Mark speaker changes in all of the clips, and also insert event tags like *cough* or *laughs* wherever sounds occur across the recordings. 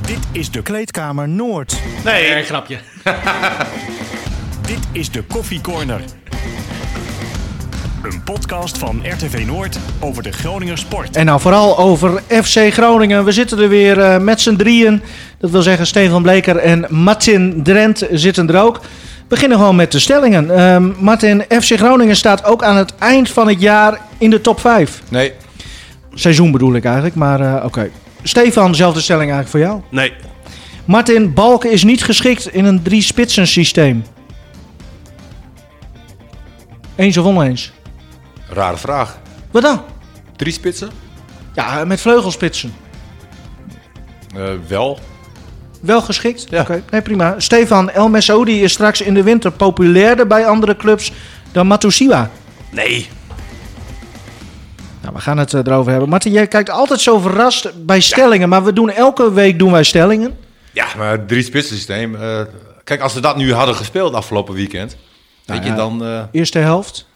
Speaker 1: Dit is de Kleedkamer Noord.
Speaker 2: Nee, een grapje.
Speaker 1: Dit is de Koffie Corner. Een podcast van RTV Noord over de Groninger sport.
Speaker 3: En nou vooral over FC Groningen. We zitten er weer eh, met z'n drieën. Dat wil zeggen Stefan Bleker en Martin Drent zitten er ook. We beginnen gewoon met de stellingen. Ehm, Martin, FC Groningen staat ook aan het eind van het jaar in de top 5.
Speaker 4: Nee.
Speaker 3: Seizoen bedoel ik eigenlijk, maar eh, oké. Stefan, zelfde stelling eigenlijk voor jou.
Speaker 2: Nee.
Speaker 3: Martin, Balken is niet geschikt in een drie-spitsen systeem. Eens of oneens?
Speaker 4: Rare vraag.
Speaker 3: Wat dan?
Speaker 4: Drie spitsen?
Speaker 3: Ja, met vleugelspitsen.
Speaker 4: Eh, wel.
Speaker 3: Wel geschikt?
Speaker 4: Ja.
Speaker 3: Oké, Nee, prima. Stefan, El Messaoudi is straks in de winter populairder bij andere clubs dan Matusiwa.
Speaker 2: Nee.
Speaker 3: Nou, we gaan het eh, erover hebben. Martin, jij kijkt altijd zo verrast bij stellingen, maar we doen elke week doen wij stellingen.
Speaker 4: Ja, maar drie spitsen systeem. eh, kijk, als we dat nu hadden gespeeld afgelopen weekend.
Speaker 3: Nou
Speaker 4: weet je
Speaker 3: ja.
Speaker 4: dan. eh,
Speaker 3: Eerste helft?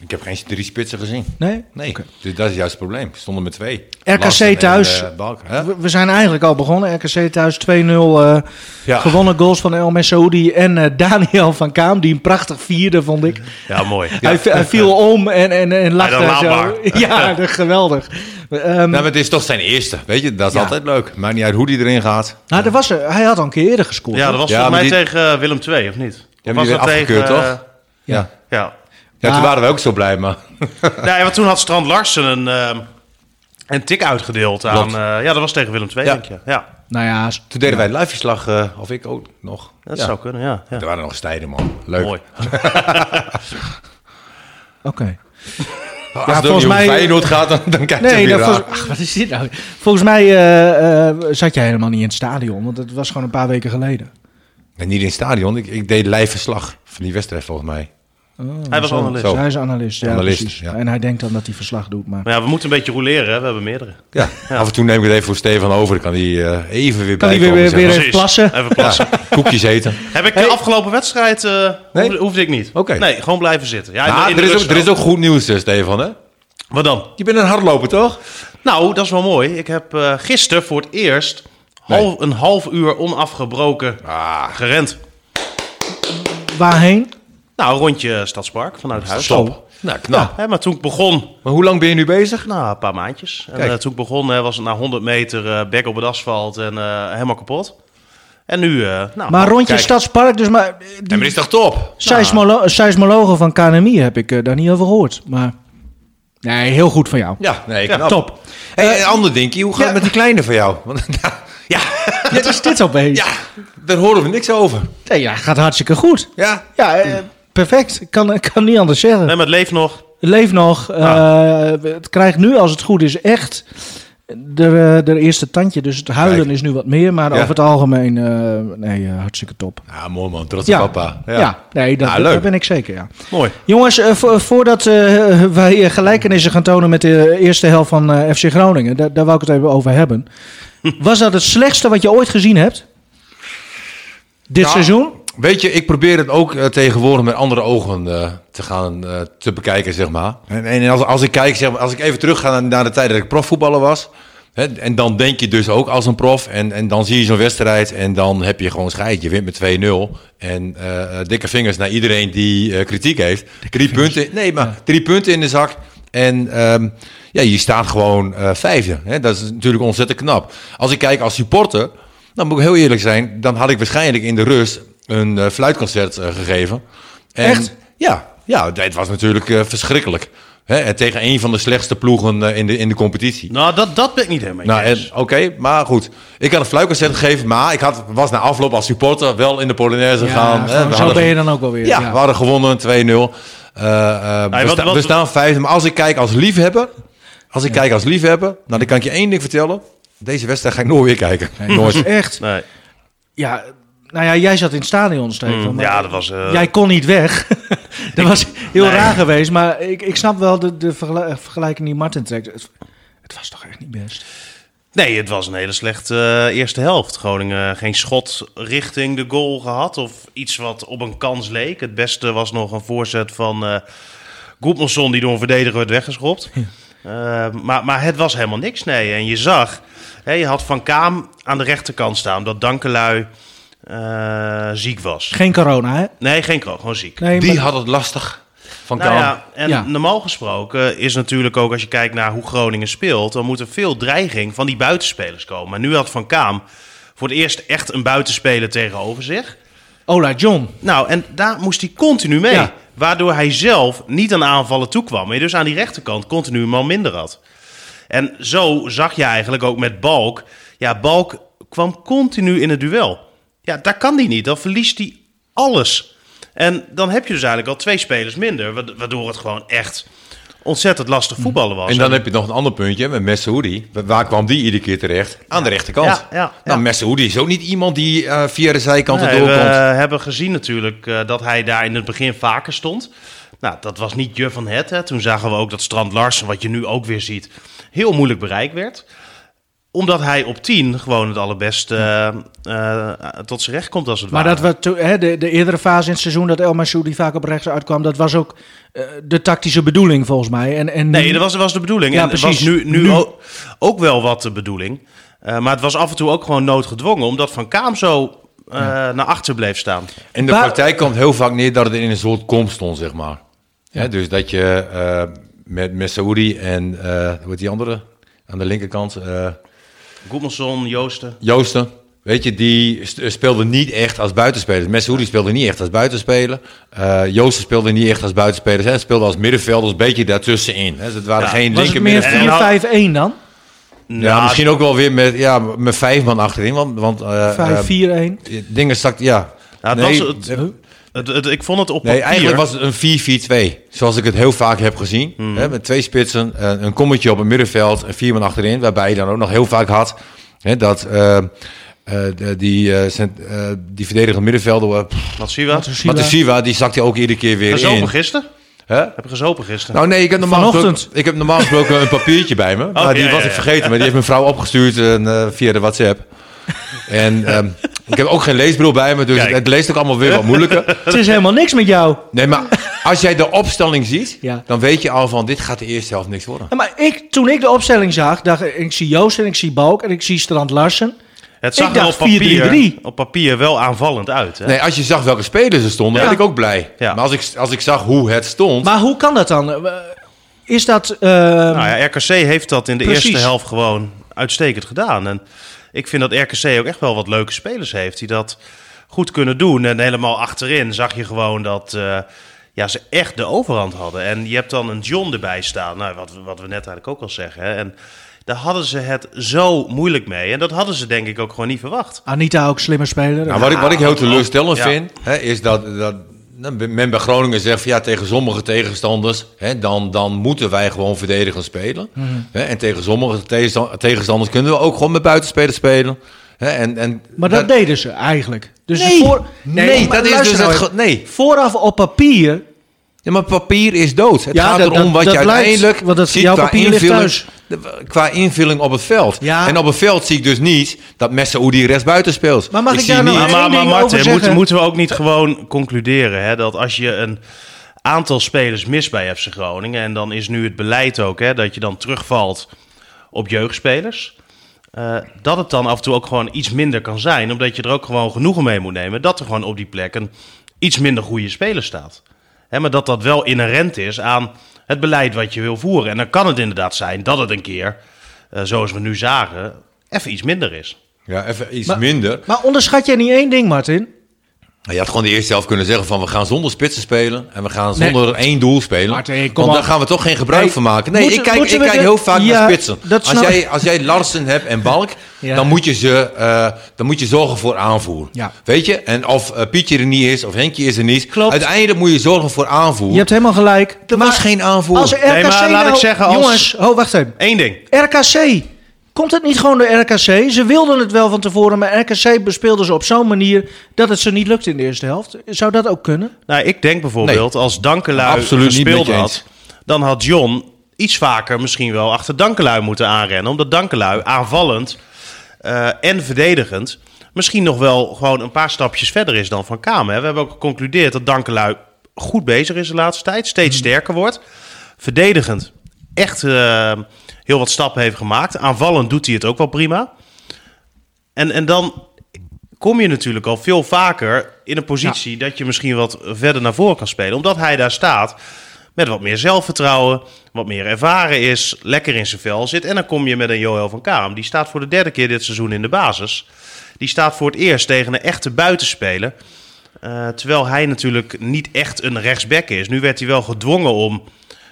Speaker 4: ik heb geen drie spitsen gezien.
Speaker 3: Nee?
Speaker 4: Nee. Dus dat is juist het probleem. We stonden met twee.
Speaker 3: RKC
Speaker 4: Larsen en,
Speaker 3: thuis.
Speaker 4: eh, Balken. Hè?
Speaker 3: We, we zijn eigenlijk al begonnen. RKC thuis 2-0. eh,
Speaker 4: Ja.
Speaker 3: Gewonnen goals van El Messaoudi en eh, Daniel van Kaam, die een prachtig vierde, vond ik.
Speaker 2: Ja, mooi.
Speaker 3: Hij, v- hij viel om en, en, en lachte
Speaker 2: dan
Speaker 3: zo.
Speaker 2: laatbaar.
Speaker 3: *laughs* Ja, dat- geweldig. Ehm,
Speaker 4: Nou, maar het is toch zijn eerste. Weet je, dat is
Speaker 3: Ja.
Speaker 4: altijd leuk. Maakt niet uit hoe die erin gaat.
Speaker 3: nou, dat was, er. hij had al een keer eerder gescoord.
Speaker 2: Ja,
Speaker 3: hè?
Speaker 2: dat was
Speaker 4: Ja,
Speaker 2: volgens mij
Speaker 4: maar die-
Speaker 2: tegen eh, Willem II, of niet?
Speaker 4: Ja,
Speaker 2: Of
Speaker 4: maar die werd afgekeurd,
Speaker 2: eh,
Speaker 4: toch? Ja.
Speaker 2: Ja.
Speaker 4: Ja,
Speaker 3: Maar-
Speaker 4: toen waren we ook zo blij, maar.
Speaker 2: Nee, want toen had Strand Larsen een, ehm, een tik uitgedeeld aan...
Speaker 4: Klopt.
Speaker 2: eh, ja, dat was tegen Willem II,
Speaker 4: Ja.
Speaker 2: denk je. Ja,
Speaker 3: Nou ja, s-
Speaker 4: Toen deden wij het liveverslag, eh, of ik ook nog.
Speaker 2: dat
Speaker 4: ja.
Speaker 2: zou kunnen, ja. ja.
Speaker 4: Er waren nog stijden, man. Leuk.
Speaker 2: Mooi.
Speaker 3: oké.
Speaker 4: Als
Speaker 3: Ja, volgens
Speaker 4: het volgens mij...
Speaker 3: mij-
Speaker 4: Feyenoord gaat, dan, dan kijk je
Speaker 3: Nee,
Speaker 4: weer
Speaker 3: dat
Speaker 4: raar.
Speaker 3: vol- Ach, wat is dit nou? Volgens mij eh, eh, zat jij helemaal niet in het stadion, want het was gewoon een paar weken geleden.
Speaker 4: Oh. Nee, niet in het stadion. Ik, ik deed live verslag van die wedstrijd, volgens mij.
Speaker 2: Hij was
Speaker 3: Zo.
Speaker 2: analist.
Speaker 4: Zo.
Speaker 3: Dus Hij is analist, ja,
Speaker 4: Analist,
Speaker 3: precies.
Speaker 4: ja.
Speaker 3: En hij denkt dan dat hij verslag doet, maar...
Speaker 2: Maar ja, we moeten een beetje roleren, hè. We hebben meerdere. *laughs*
Speaker 4: Ja. Af en toe neem ik het even voor Stefan over. Dan kan hij eh, even weer
Speaker 3: Kan hij
Speaker 4: bijkomen,
Speaker 3: weer-
Speaker 4: zeg maar.
Speaker 3: weer-
Speaker 2: Precies.
Speaker 3: plassen.
Speaker 2: Even plassen.
Speaker 4: Ja, koekjes
Speaker 2: *laughs*
Speaker 4: eten.
Speaker 2: Heb ik de afgelopen wedstrijd... eh, hoefde, hoefde ik niet.
Speaker 4: Oké.
Speaker 2: Nee, gewoon blijven zitten. Ja, in de-
Speaker 4: Maar
Speaker 2: in de
Speaker 4: er, is ook,
Speaker 2: rust
Speaker 4: er is ook goed nieuws, eh, Stefan. Hè?
Speaker 2: Wat dan?
Speaker 4: Je bent een hardloper, toch?
Speaker 2: Nou, dat is wel mooi. Ik heb eh gisteren voor het eerst half, een half uur onafgebroken
Speaker 4: Ah,
Speaker 2: gerend.
Speaker 3: Waarheen?
Speaker 2: Nou, rondje Stadspark vanuit huis.
Speaker 4: stop. Nou, knap.
Speaker 2: Hè, maar toen ik begon,
Speaker 4: Maar hoe lang ben je nu bezig?
Speaker 2: nou, een paar maandjes. En,
Speaker 4: Kijk.
Speaker 2: eh, toen ik begon eh, was het na 100 meter eh bek op het asfalt en eh, helemaal kapot. En nu, eh, nou...
Speaker 3: maar rondje
Speaker 2: kijk.
Speaker 3: Stadspark, dus maar... eh, Die
Speaker 4: En maar is toch top?
Speaker 3: seismolo- seismologen van KNMI heb ik eh, daar niet over gehoord, maar... Nee, heel goed van jou.
Speaker 4: Ja, nee, knap. Eh,
Speaker 3: Top.
Speaker 4: Hey, een ander dinkie, hoe gaat
Speaker 3: ja.
Speaker 4: het met die kleine van jou? Want, ja, ja,
Speaker 3: Wat is dit opeens?
Speaker 4: *laughs* ja, daar horen we niks over.
Speaker 3: Nee, ja, gaat hartstikke goed.
Speaker 4: Ja,
Speaker 3: Ja, eh, perfect. Ik kan, ik kan niet anders zeggen.
Speaker 2: Nee, maar het leeft nog.
Speaker 3: Leef nog. Eh, het krijgt nu, als het goed is, echt de, eh, de eerste tandje. Dus het huilen
Speaker 4: Kijk.
Speaker 3: is nu wat meer. Maar
Speaker 4: Ja.
Speaker 3: over het algemeen, eh, nee, eh, hartstikke top.
Speaker 4: ah, mooi man, trots
Speaker 3: Ja.
Speaker 4: op papa.
Speaker 3: Ja, nee, dat,
Speaker 4: Ah,
Speaker 3: dat
Speaker 4: leuk.
Speaker 3: ben ik zeker, ja.
Speaker 2: Mooi.
Speaker 3: Jongens, eh, vo- voordat eh, wij eh, gelijkenissen gaan tonen met de eerste helft van eh, FC Groningen... Daar, daar wou ik het even over
Speaker 4: *laughs*
Speaker 3: hebben. Was dat het slechtste wat je ooit gezien hebt? Dit
Speaker 4: Ja.
Speaker 3: seizoen?
Speaker 4: Weet je, ik probeer het ook eh, tegenwoordig met andere ogen eh, te gaan eh, te bekijken, zeg maar. En, en als, als ik kijk, zeg maar, als ik even terugga naar, naar de tijd dat ik profvoetballer was. Hè, en dan denk je dus ook als een prof. En, en dan zie je zo'n wedstrijd en dan heb je gewoon scheid. Je wint met 2-0. En eh, dikke vingers naar iedereen die eh, kritiek heeft. Drie punten, nee, maar drie punten in de zak. En ehm, ja, je staat gewoon eh, vijfde. Hè? Dat is natuurlijk ontzettend knap. Als ik kijk als supporter, nou, moet ik heel eerlijk zijn, dan had ik waarschijnlijk in de rust een eh, fluitconcert eh, gegeven. En,
Speaker 3: Echt?
Speaker 4: Ja, ja, het was natuurlijk eh, verschrikkelijk. Hè, en tegen een van de slechtste ploegen eh, in, de, in de competitie.
Speaker 2: Nou, dat, dat ben ik niet helemaal
Speaker 4: Nou,
Speaker 2: eens.
Speaker 4: en- oké, maar goed. Ik had een fluitconcert gegeven, maar ik had, was na afloop als supporter wel in de Polonaise gegaan.
Speaker 3: Ja,
Speaker 4: hè.
Speaker 3: gewoon
Speaker 4: We
Speaker 3: zo
Speaker 4: hadden-
Speaker 3: ben je dan ook alweer.
Speaker 4: ja, we hadden gewonnen 2-0. Eh, eh,
Speaker 2: Nee,
Speaker 4: we,
Speaker 2: wat-
Speaker 4: sta-
Speaker 2: wat-
Speaker 4: we staan vijfde. Maar als ik kijk als liefhebber, als ik kijk als liefhebber, nou, dan kan ik je één ding vertellen. Deze wedstrijd ga ik nooit weer kijken. nooit.
Speaker 3: Echt.
Speaker 2: Nee.
Speaker 3: Ja, nou ja, jij zat in het stadion, Stefan.
Speaker 2: Mm,
Speaker 3: maar
Speaker 2: ja, dat was... eh,
Speaker 3: Jij kon niet weg. *laughs* dat was heel
Speaker 2: Nee.
Speaker 3: raar geweest. Maar ik, ik snap wel de, de vergel- vergelijking die Martin trekt. Het, het was toch echt niet best?
Speaker 2: Nee, het was een hele slechte eh, eerste helft. Groningen eh, geen schot richting de goal gehad of iets wat op een kans leek. Het beste was nog een voorzet van eh Goedmanson die door een verdediger werd weggeschopt. Eh, maar, maar het was helemaal niks, nee. En je zag, Hè, je had Van Kaam aan de rechterkant staan, omdat Dankelui eh, ziek was.
Speaker 3: Geen corona, hè?
Speaker 2: Nee, geen kroon, gewoon ziek.
Speaker 3: Nee,
Speaker 4: Die
Speaker 3: maar-
Speaker 4: had het lastig. Van
Speaker 2: Nou
Speaker 4: Kaam.
Speaker 2: ja, en
Speaker 3: Ja.
Speaker 2: normaal gesproken is natuurlijk ook als je kijkt naar hoe Groningen speelt, dan moet er veel dreiging van die buitenspelers komen. Maar nu had Van Kaam voor het eerst echt een buitenspeler tegenover zich.
Speaker 3: Ola John.
Speaker 2: Nou, en daar moest hij continu mee.
Speaker 3: Ja.
Speaker 2: Waardoor hij zelf niet aan aanvallen toekwam. Maar je dus aan die rechterkant continu een man minder had. En zo zag je eigenlijk ook met Balk. Ja, Balk kwam continu in het duel. Ja, daar kan hij niet. Dan verliest hij alles. En dan heb je dus eigenlijk al twee spelers minder. wa- Waardoor het gewoon echt ontzettend lastig voetballen was.
Speaker 4: En dan heb je nog een ander puntje met Messehoedi. Waar kwam die iedere keer terecht? Aan de rechterkant.
Speaker 2: Ja, ja, ja.
Speaker 4: Nou, Messehoedi is ook niet iemand die eh, via de zijkant
Speaker 2: Nee,
Speaker 4: erdoor
Speaker 2: we
Speaker 4: komt.
Speaker 2: hebben gezien natuurlijk eh, dat hij daar in het begin vaker stond. Nou, dat was niet je van het. Hè. Toen zagen we ook dat Strand Larsen, wat je nu ook weer ziet, heel moeilijk bereik werd. Omdat hij op 10 gewoon het allerbest eh, eh, tot zijn recht komt als het
Speaker 3: Maar
Speaker 2: ware.
Speaker 3: dat we to- hè, de, de eerdere fase in het seizoen dat El Mashoudi vaak op rechts uitkwam, dat was ook eh, de tactische bedoeling volgens mij. En, en
Speaker 2: Nee, dat was, dat was de bedoeling.
Speaker 3: Ja,
Speaker 2: en het was
Speaker 3: precies.
Speaker 2: nu, nu,
Speaker 3: Nu.
Speaker 2: Ook, ook wel wat de bedoeling. Eh, maar het was af en toe ook gewoon noodgedwongen, omdat Van Kaam zo eh, naar achter bleef staan.
Speaker 4: In de
Speaker 3: Maar-
Speaker 4: praktijk komt heel vaak neer dat het in een soort kom stond, zeg maar. Ja. dus dat je eh, met Messaoudi en, eh hoe heet die andere? Aan de linkerkant, eh,
Speaker 2: Goedmanson, Joosten.
Speaker 4: Joosten. Weet je, die st- eh, speelde niet echt als buitenspeler. Messaoudi speelde niet echt als buitenspeler. Eh Joosten speelde niet echt als buitenspeler. Hij speelde als middenvelder, een beetje daartussenin. Hè. Dus het waren
Speaker 2: Ja.
Speaker 4: geen
Speaker 3: was het
Speaker 4: linker
Speaker 3: meer
Speaker 4: middenvelders.
Speaker 3: 4-5-1 dan?
Speaker 4: Ja, misschien ook wel weer met, ja, met vijf man achterin. Want, want eh,
Speaker 3: 5-4-1.
Speaker 4: eh, dingen stak, ja.
Speaker 2: Nou, het
Speaker 4: Nee,
Speaker 2: was het, het- het- ik vond het op
Speaker 4: Nee,
Speaker 2: papier...
Speaker 4: eigenlijk was het een 4-4-2. Zoals ik het heel vaak heb gezien.
Speaker 2: Hmm.
Speaker 4: Hè, met twee spitsen, een, een kommetje op het middenveld en vier man achterin. Waarbij je dan ook nog heel vaak had hè, dat eh, eh, de- die, eh, cent- eh, die verdediger middenvelder... Uh,
Speaker 2: Wat zie je wel?
Speaker 4: Matusiwa, die zakte ook iedere keer weer
Speaker 2: Gezopen
Speaker 4: in.
Speaker 2: gisteren?
Speaker 4: Hè?
Speaker 2: Heb ik gezopen gisteren?
Speaker 4: Nou nee, ik heb normaal,
Speaker 3: Vanochtend.
Speaker 4: gesproken, ik heb normaal gesproken een papiertje bij me. maar die
Speaker 2: Oh, ja, ja,
Speaker 4: was ik
Speaker 2: ja.
Speaker 4: vergeten. Maar die heeft mijn vrouw opgestuurd eh, eh, via de WhatsApp. En ehm, ik heb ook geen leesbril bij me. Dus
Speaker 2: Kijk.
Speaker 4: het, het leest ook allemaal weer wat moeilijker.
Speaker 3: Het is helemaal niks met jou.
Speaker 4: Nee, maar als jij de opstelling ziet,
Speaker 3: Ja.
Speaker 4: dan weet je al van dit gaat de eerste helft niks worden.
Speaker 3: Ja, Maar ik, toen ik de opstelling zag, dacht ik, ik zie Joost en ik zie Balk en ik zie Strand Larsen.
Speaker 2: het zag
Speaker 3: ik
Speaker 2: er
Speaker 3: dacht
Speaker 2: op papier,
Speaker 3: 4-3-3.
Speaker 2: op papier wel aanvallend uit. Hè?
Speaker 4: Nee, als je zag welke spelers er stonden,
Speaker 2: Ja.
Speaker 4: werd ik ook blij.
Speaker 2: Ja.
Speaker 4: Maar als ik, als ik zag hoe het stond,
Speaker 3: Maar hoe kan dat dan? Eh, Is dat... eh,
Speaker 2: Nou ja, RKC heeft dat in de
Speaker 3: Precies.
Speaker 2: eerste helft gewoon uitstekend gedaan. En ik vind dat RKC ook echt wel wat leuke spelers heeft die dat goed kunnen doen. En helemaal achterin zag je gewoon dat eh, ja, ze echt de overhand hadden. En je hebt dan een John erbij staan, nou, wat, wat we net eigenlijk ook al zeggen. Hè? En daar hadden ze het zo moeilijk mee. En dat hadden ze denk ik ook gewoon niet verwacht.
Speaker 3: Anita ook slimme speler.
Speaker 4: Nou, wat, ik, wat ik heel
Speaker 2: want-
Speaker 4: teleurstellend
Speaker 2: ja.
Speaker 4: vind, hè, is dat, dat nou, men bij Groningen zegt van ja, tegen sommige tegenstanders, hè, dan, dan moeten wij gewoon verdedigend spelen.
Speaker 3: Mhm.
Speaker 4: Hè, en tegen sommige tegensta- tegenstanders kunnen we ook gewoon met buitenspelers spelen. Hè, en, en,
Speaker 3: maar dat, deden ze eigenlijk. Dus
Speaker 4: Nee,
Speaker 3: voor,
Speaker 4: nee,
Speaker 3: maar
Speaker 4: dat is
Speaker 3: luister
Speaker 4: dus
Speaker 3: nou
Speaker 4: het.
Speaker 3: even.
Speaker 4: ge- Nee,
Speaker 3: Vooraf op papier
Speaker 4: ja, maar papier is dood. Het
Speaker 3: Ja,
Speaker 4: gaat
Speaker 3: dat-
Speaker 4: erom
Speaker 3: dat-
Speaker 4: wat
Speaker 3: dat
Speaker 4: je
Speaker 3: blijkt,
Speaker 4: uiteindelijk
Speaker 3: want dat-
Speaker 4: ziet
Speaker 3: jouw
Speaker 4: qua
Speaker 3: papier ligt
Speaker 4: invulling,
Speaker 3: thuis.
Speaker 4: de- qua invulling op het veld.
Speaker 3: Ja.
Speaker 4: En op het veld zie ik dus niet dat Messaoudi rechtsbuiten speelt.
Speaker 3: Maar mag ik
Speaker 4: zie
Speaker 3: daar nou
Speaker 4: niet-
Speaker 2: Maar, maar,
Speaker 3: één
Speaker 2: maar
Speaker 3: ding over
Speaker 2: Martin, moeten
Speaker 3: zeggen.
Speaker 2: moeten we ook niet gewoon concluderen hè, dat als je een aantal spelers mist bij FC Groningen, en dan is nu het beleid ook hè, dat je dan terugvalt op jeugdspelers, eh, dat het dan af en toe ook gewoon iets minder kan zijn, omdat je er ook gewoon genoegen mee moet nemen dat er gewoon op die plekken iets minder goede spelers staat. Hè, maar dat dat wel inherent is aan het beleid wat je wil voeren. En dan kan het inderdaad zijn dat het een keer, eh, zoals we nu zagen, even iets minder is.
Speaker 4: Ja, even iets
Speaker 3: Maar-
Speaker 4: minder.
Speaker 3: Maar onderschat jij niet één ding, Martin?
Speaker 4: Nou, Je had gewoon de eerste helft kunnen zeggen van we gaan zonder spitsen spelen en we gaan zonder één doel spelen.
Speaker 3: Martin, kom
Speaker 4: want daar
Speaker 3: op.
Speaker 4: gaan we toch geen gebruik
Speaker 3: Nee,
Speaker 4: van maken. Nee,
Speaker 3: moeten-
Speaker 4: ik kijk,
Speaker 3: moeten
Speaker 4: ik
Speaker 3: we
Speaker 4: kijk
Speaker 3: de-
Speaker 4: heel vaak
Speaker 3: Ja,
Speaker 4: naar spitsen.
Speaker 3: dat
Speaker 4: Als
Speaker 3: snap
Speaker 4: jij, als jij Larsen hebt en Balk,
Speaker 3: Ja.
Speaker 4: dan, moet je ze, eh, dan moet je zorgen voor aanvoer.
Speaker 3: Ja.
Speaker 4: Weet je? En of eh, Pietje er niet is of Henkje is er niet.
Speaker 3: Klopt.
Speaker 4: Uiteindelijk moet je zorgen voor aanvoer.
Speaker 3: Je hebt helemaal gelijk.
Speaker 4: Er was geen aanvoer.
Speaker 3: Als RKC
Speaker 2: Nee, maar laat
Speaker 3: nou-
Speaker 2: ik zeggen, als-
Speaker 3: Jongens, oh, wacht even.
Speaker 2: Eén ding.
Speaker 3: RKC. Komt het niet gewoon door RKC? Ze wilden het wel van tevoren, maar RKC bespeelden ze op zo'n manier dat het ze niet lukte in de eerste helft. Zou dat ook kunnen?
Speaker 2: Nou, ik denk bijvoorbeeld als Dankelui
Speaker 4: Absoluut niet met
Speaker 2: gespeeld
Speaker 4: je
Speaker 2: had, dan had John iets vaker misschien wel achter Dankelui moeten aanrennen. Omdat Dankelui aanvallend eh, en verdedigend misschien nog wel gewoon een paar stapjes verder is dan Van Kamer. We hebben ook geconcludeerd dat Dankelui
Speaker 4: Mhm.
Speaker 2: goed bezig is de laatste tijd, steeds sterker wordt. Verdedigend echt eh, heel wat stappen heeft gemaakt. Aanvallend doet hij het ook wel prima. En, en dan kom je natuurlijk al veel vaker in een positie dat je misschien wat verder naar voren kan spelen. Omdat hij daar staat met wat meer zelfvertrouwen, wat meer ervaren is, lekker in zijn vel zit. En dan kom je met een Joël van Kaam. Die staat voor de derde keer dit seizoen in de basis. Die staat voor het eerst tegen een echte buitenspeler. Eh, terwijl hij natuurlijk niet echt een rechtsback is. Nu werd hij wel gedwongen om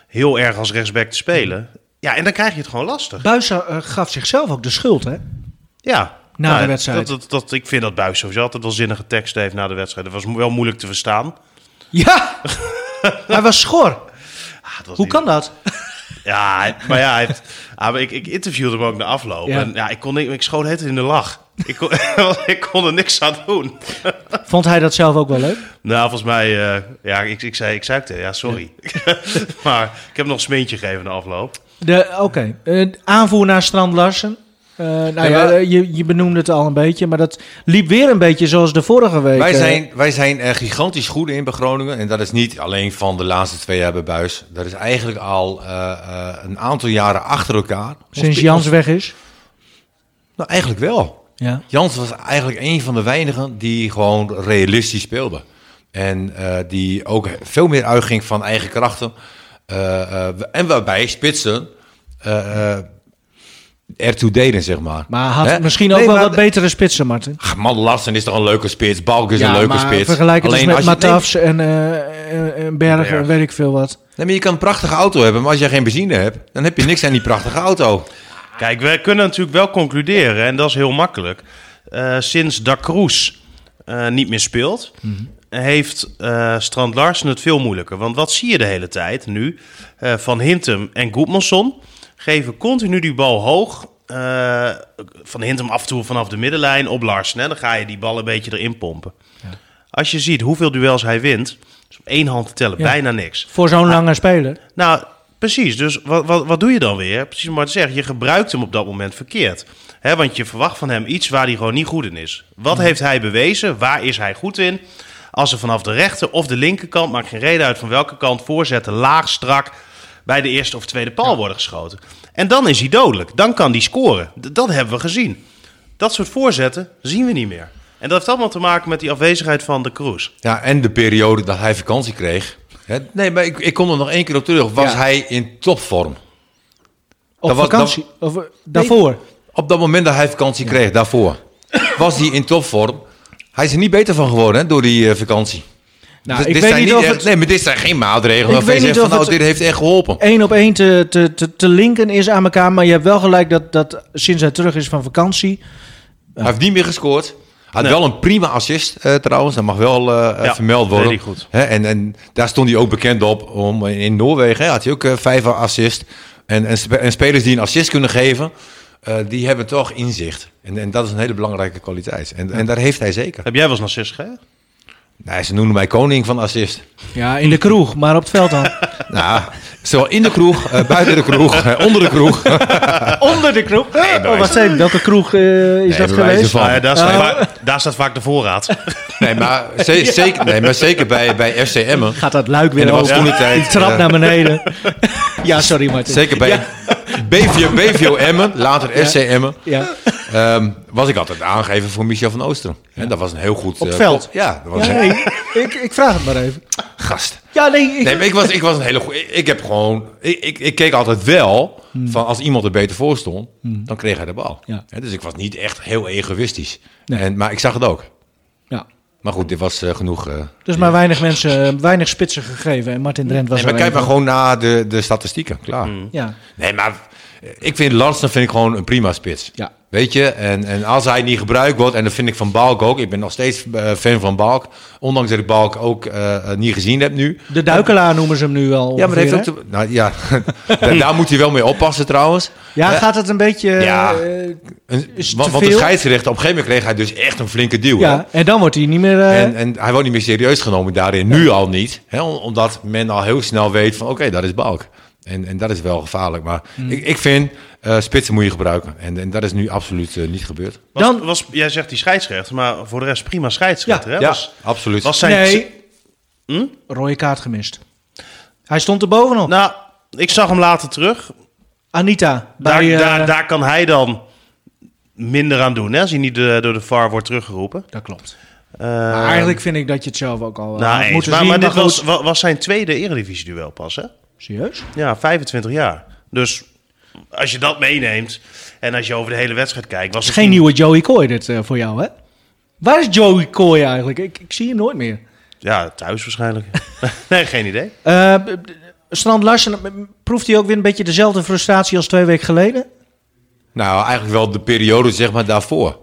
Speaker 2: heel erg als rechtsback te spelen. Ja, en dan krijg je het gewoon lastig.
Speaker 3: Buizen eh, gaf zichzelf ook de schuld, hè?
Speaker 2: Ja. Nou,
Speaker 3: Na de wedstrijd.
Speaker 2: Dat, dat, dat- ik vind dat Buis sowieso altijd wel zinnige teksten heeft na de wedstrijd. Dat was mo- wel moeilijk te
Speaker 3: Ah,
Speaker 2: verstaan.
Speaker 3: Ja! hij was schor.
Speaker 2: Ah, dat was
Speaker 3: Hoe
Speaker 2: niet-
Speaker 3: kan dat?
Speaker 2: Ja, hij- maar ja, hij heeft- ah, maar ik, ik interviewde hem ook na afloop.
Speaker 3: Ja.
Speaker 2: En ja, ik, kon, niet- ik schoot het in de lach. Ik kon, *laughs* ik kon er niks aan doen.
Speaker 3: Vond hij dat zelf ook wel leuk?
Speaker 2: Nou, volgens mij, eh, ja, ik, ik zei, ik zei het, eh, ja, sorry. *laughs* maar ik heb nog een smintje gegeven na afloop.
Speaker 3: De- Oké, Eh, aanvoer naar Strand Larsen. Eh, nou ja,
Speaker 4: maar-
Speaker 3: eh, je, je benoemde het al een beetje, maar dat liep weer een beetje zoals de vorige week.
Speaker 4: Wij
Speaker 3: eh.
Speaker 4: zijn, wij zijn er gigantisch goed in bij Groningen. En dat is niet alleen van de laatste twee jaar bij Buis. Dat is eigenlijk al eh, eh, een aantal jaren achter elkaar.
Speaker 3: Sinds
Speaker 4: Ons-
Speaker 3: Jans weg is.
Speaker 4: Nou, eigenlijk wel.
Speaker 3: Ja.
Speaker 4: Jans was eigenlijk een van de weinigen die gewoon realistisch speelde. En eh, die ook veel meer uitging van eigen krachten. Eh, eh, en waarbij spitsen eh eh, ertoe deden, zeg maar.
Speaker 3: Maar had
Speaker 4: Hè?
Speaker 3: misschien ook
Speaker 4: Nee,
Speaker 3: wel
Speaker 4: maar
Speaker 3: wat betere spitsen, Martin.
Speaker 4: Ach, Man, Larsen is toch een leuke spits. Balk is een leuke
Speaker 3: maar
Speaker 4: spits.
Speaker 3: vergelijk het eens
Speaker 4: Alleen
Speaker 3: met
Speaker 4: als je- nee,
Speaker 3: Matafs en, eh, en- en Bergen en
Speaker 2: Berg.
Speaker 3: weet ik veel wat.
Speaker 4: Nee, maar je kan een prachtige auto hebben, maar als jij geen benzine hebt, dan heb je niks aan die prachtige auto.
Speaker 2: Kijk, we kunnen natuurlijk wel concluderen, en dat is heel makkelijk. eh, sinds Da Cruz eh, niet meer speelt, heeft eh, Strand Larsen het veel moeilijker. Want wat zie je de hele tijd nu? Eh, Van Hintem en Goedmanson geven continu die bal hoog. eh, van Hintem af en toe vanaf de middenlijn op Larsen. Hè? Dan ga je die bal een beetje erin pompen. Als je ziet hoeveel duels hij wint, is op één hand te tellen
Speaker 3: Ja.
Speaker 2: bijna niks.
Speaker 3: Voor zo'n lange speler.
Speaker 2: Nou, precies. Dus wat, wat, wat doe je dan weer? Precies wat te zeggen. Je gebruikt hem op dat moment verkeerd. hè? want je verwacht van hem iets waar hij gewoon niet goed in is. Wat heeft hij bewezen? Waar is hij goed in? Als er vanaf de rechter of de linkerkant, maakt geen reden uit van welke kant, voorzetten laag, strak bij de eerste of tweede paal worden geschoten. En dan is hij dodelijk. Dan kan hij scoren. D- dat hebben we gezien. Dat soort voorzetten zien we niet meer. En dat heeft allemaal te maken met die afwezigheid van de Kroes.
Speaker 4: Ja, en de periode dat hij vakantie kreeg. Hè, Nee, maar ik, ik kom er nog één keer op terug. Was
Speaker 3: Ja.
Speaker 4: hij in topvorm?
Speaker 3: Op
Speaker 4: Dat was-
Speaker 3: vakantie. Of, eh, daarvoor.
Speaker 4: Op dat moment dat hij vakantie kreeg, daarvoor, was hij in topvorm. Hij is er niet beter van geworden hè, door die eh, vakantie.
Speaker 3: Nou,
Speaker 4: Dit-
Speaker 3: ik
Speaker 4: dit
Speaker 3: weet
Speaker 4: zijn
Speaker 3: niet of
Speaker 4: echt-
Speaker 3: het-
Speaker 4: Nee, maar dit zijn geen maatregelen
Speaker 3: Ik
Speaker 4: waarvan
Speaker 3: weet
Speaker 4: je zegt
Speaker 3: niet of
Speaker 4: van, nou,
Speaker 3: het-
Speaker 4: dit heeft echt geholpen.
Speaker 3: één op één te, te, te, te linken is aan elkaar. Maar je hebt wel gelijk dat, dat sinds hij terug is van vakantie.
Speaker 4: Hij heeft niet meer gescoord. Had
Speaker 2: Nee.
Speaker 4: wel een prima assist eh, trouwens, dat mag wel eh, eh,
Speaker 2: Ja,
Speaker 4: vermeld worden.
Speaker 2: deed hij goed.
Speaker 4: Hè, en, en daar stond hij ook bekend op. Om, in Noorwegen hè, had hij ook eh, vijf assist. En, en, spe- en spelers die een assist kunnen geven, eh, die hebben toch inzicht. En, en dat is een hele belangrijke kwaliteit. En, en daar heeft hij zeker.
Speaker 2: Heb jij wel eens narcist gegeven?
Speaker 4: Nou, ze noemen mij koning van assist.
Speaker 3: Ja, in de kroeg, maar op het veld dan.
Speaker 4: Nou, zowel in de kroeg, eh, buiten de kroeg, eh, onder de kroeg.
Speaker 3: *laughs* Onder de kroeg? oh, wat zei je? Welke kroeg eh, is
Speaker 4: Nee,
Speaker 3: dat
Speaker 4: bij wijze
Speaker 3: geweest?
Speaker 4: van.
Speaker 2: Nou ja, daar, staat
Speaker 3: Eh.
Speaker 2: vaak, daar staat vaak de voorraad.
Speaker 4: Nee, maar, ze- zeker, nee, maar zeker bij, bij FC Emmen.
Speaker 3: Gaat dat luik
Speaker 4: En
Speaker 3: weer
Speaker 4: er was
Speaker 3: open?
Speaker 4: toen de tijd,
Speaker 3: *laughs* Die trap
Speaker 4: eh,
Speaker 3: naar
Speaker 4: *laughs*
Speaker 3: beneden. ja, sorry Martin.
Speaker 4: Zeker bij BVO, BVO Emmen, later FC Emmen.
Speaker 3: Ja.
Speaker 4: Ehm, was ik altijd aangegeven voor Michel van Oosteren. En dat was een heel goed...
Speaker 3: Op
Speaker 4: eh,
Speaker 3: veld?
Speaker 4: kop- Ja, dat was
Speaker 3: Ja,
Speaker 4: een
Speaker 3: nee, ik, ik vraag het maar even.
Speaker 4: gast.
Speaker 3: Ja, nee, ik,
Speaker 4: Nee, maar ik was, ik was een hele goede... Ik heb gewoon... Ik, ik, ik keek altijd wel van als iemand er beter voor stond, dan kreeg hij de bal.
Speaker 3: Ja.
Speaker 4: Hè, Dus ik was niet echt heel egoïstisch.
Speaker 3: Nee.
Speaker 4: En, maar ik zag het ook.
Speaker 3: ja.
Speaker 4: Maar goed, dit was eh, genoeg... eh.
Speaker 3: Dus maar weinig mensen, eh, weinig spitsen gegeven. En Martin Drent was
Speaker 4: Nee, maar
Speaker 3: er
Speaker 4: kijk
Speaker 3: een Mm.
Speaker 4: maar gewoon naar de, de statistieken. Klaar.
Speaker 3: van. Ja,
Speaker 4: Nee, maar eh, ik vind Larsen vind ik gewoon een prima spits.
Speaker 3: Ja.
Speaker 4: Weet je, en, en als hij niet gebruikt wordt, en dat vind ik van Balk ook. Ik ben nog steeds eh, fan van Balk. Ondanks dat ik Balk ook eh, eh, niet gezien heb nu.
Speaker 3: de duikelaar noemen ze hem nu al.
Speaker 4: Ja, maar dat
Speaker 3: ongeveer,
Speaker 4: heeft ook
Speaker 3: hè?
Speaker 4: te- nou, ja. *laughs* daar, daar moet hij wel mee oppassen trouwens.
Speaker 3: Ja,
Speaker 4: Eh,
Speaker 3: gaat het een beetje...
Speaker 4: ja.
Speaker 3: eh,
Speaker 4: Een-
Speaker 3: is
Speaker 4: want,
Speaker 3: te
Speaker 4: want de
Speaker 3: veel?
Speaker 4: scheidsrechter, op een gegeven moment kreeg hij dus echt een flinke duw. hè?
Speaker 3: ja, en dan wordt hij niet meer... eh,
Speaker 4: En, en hij wordt niet meer serieus genomen daarin, nu al niet. Hè, om- omdat men al heel snel weet van, oké, dat is Balk. En, en dat is wel gevaarlijk. Maar
Speaker 2: Hmm.
Speaker 4: ik, ik vind, eh, spitsen moet je gebruiken. En, en dat is nu absoluut eh, niet gebeurd.
Speaker 2: Was,
Speaker 3: Dan-
Speaker 2: was, jij zegt die scheidsrechter, maar voor de rest prima scheidsrechter.
Speaker 3: Ja,
Speaker 2: hè?
Speaker 4: ja,
Speaker 2: Was,
Speaker 4: absoluut.
Speaker 2: was zijn
Speaker 3: nee.
Speaker 4: Hm?
Speaker 3: Rode kaart gemist. Hij stond er bovenop.
Speaker 2: Nou, ik zag hem later terug.
Speaker 3: Anita. Bij,
Speaker 2: Daar,
Speaker 3: eh,
Speaker 2: daar, daar kan hij dan minder aan doen, hè, als hij niet eh, door de VAR wordt teruggeroepen.
Speaker 3: Dat klopt.
Speaker 2: Eh,
Speaker 3: Maar eigenlijk vind ik dat je het zelf ook al eh,
Speaker 2: nou,
Speaker 3: had
Speaker 2: eens.
Speaker 3: moeten
Speaker 2: maar,
Speaker 3: zien.
Speaker 2: maar dit
Speaker 3: goed.
Speaker 2: was, wa- was zijn tweede eredivisie-duel pas, hè?
Speaker 3: Serieus?
Speaker 2: Ja, 25 jaar. Dus als je dat meeneemt en als je over de hele wedstrijd kijkt... Was
Speaker 3: Het
Speaker 2: het
Speaker 3: is geen nieuwe Joey Coy dit eh, voor jou, hè? Waar is Joey Coy eigenlijk? Ik, ik zie hem nooit meer.
Speaker 2: Ja, thuis waarschijnlijk. *laughs* nee, geen idee.
Speaker 3: Eh, b- b- Strand Larsen, m- proeft hij ook weer een beetje dezelfde frustratie als twee weken geleden?
Speaker 4: Nou, eigenlijk wel de periode zeg maar daarvoor.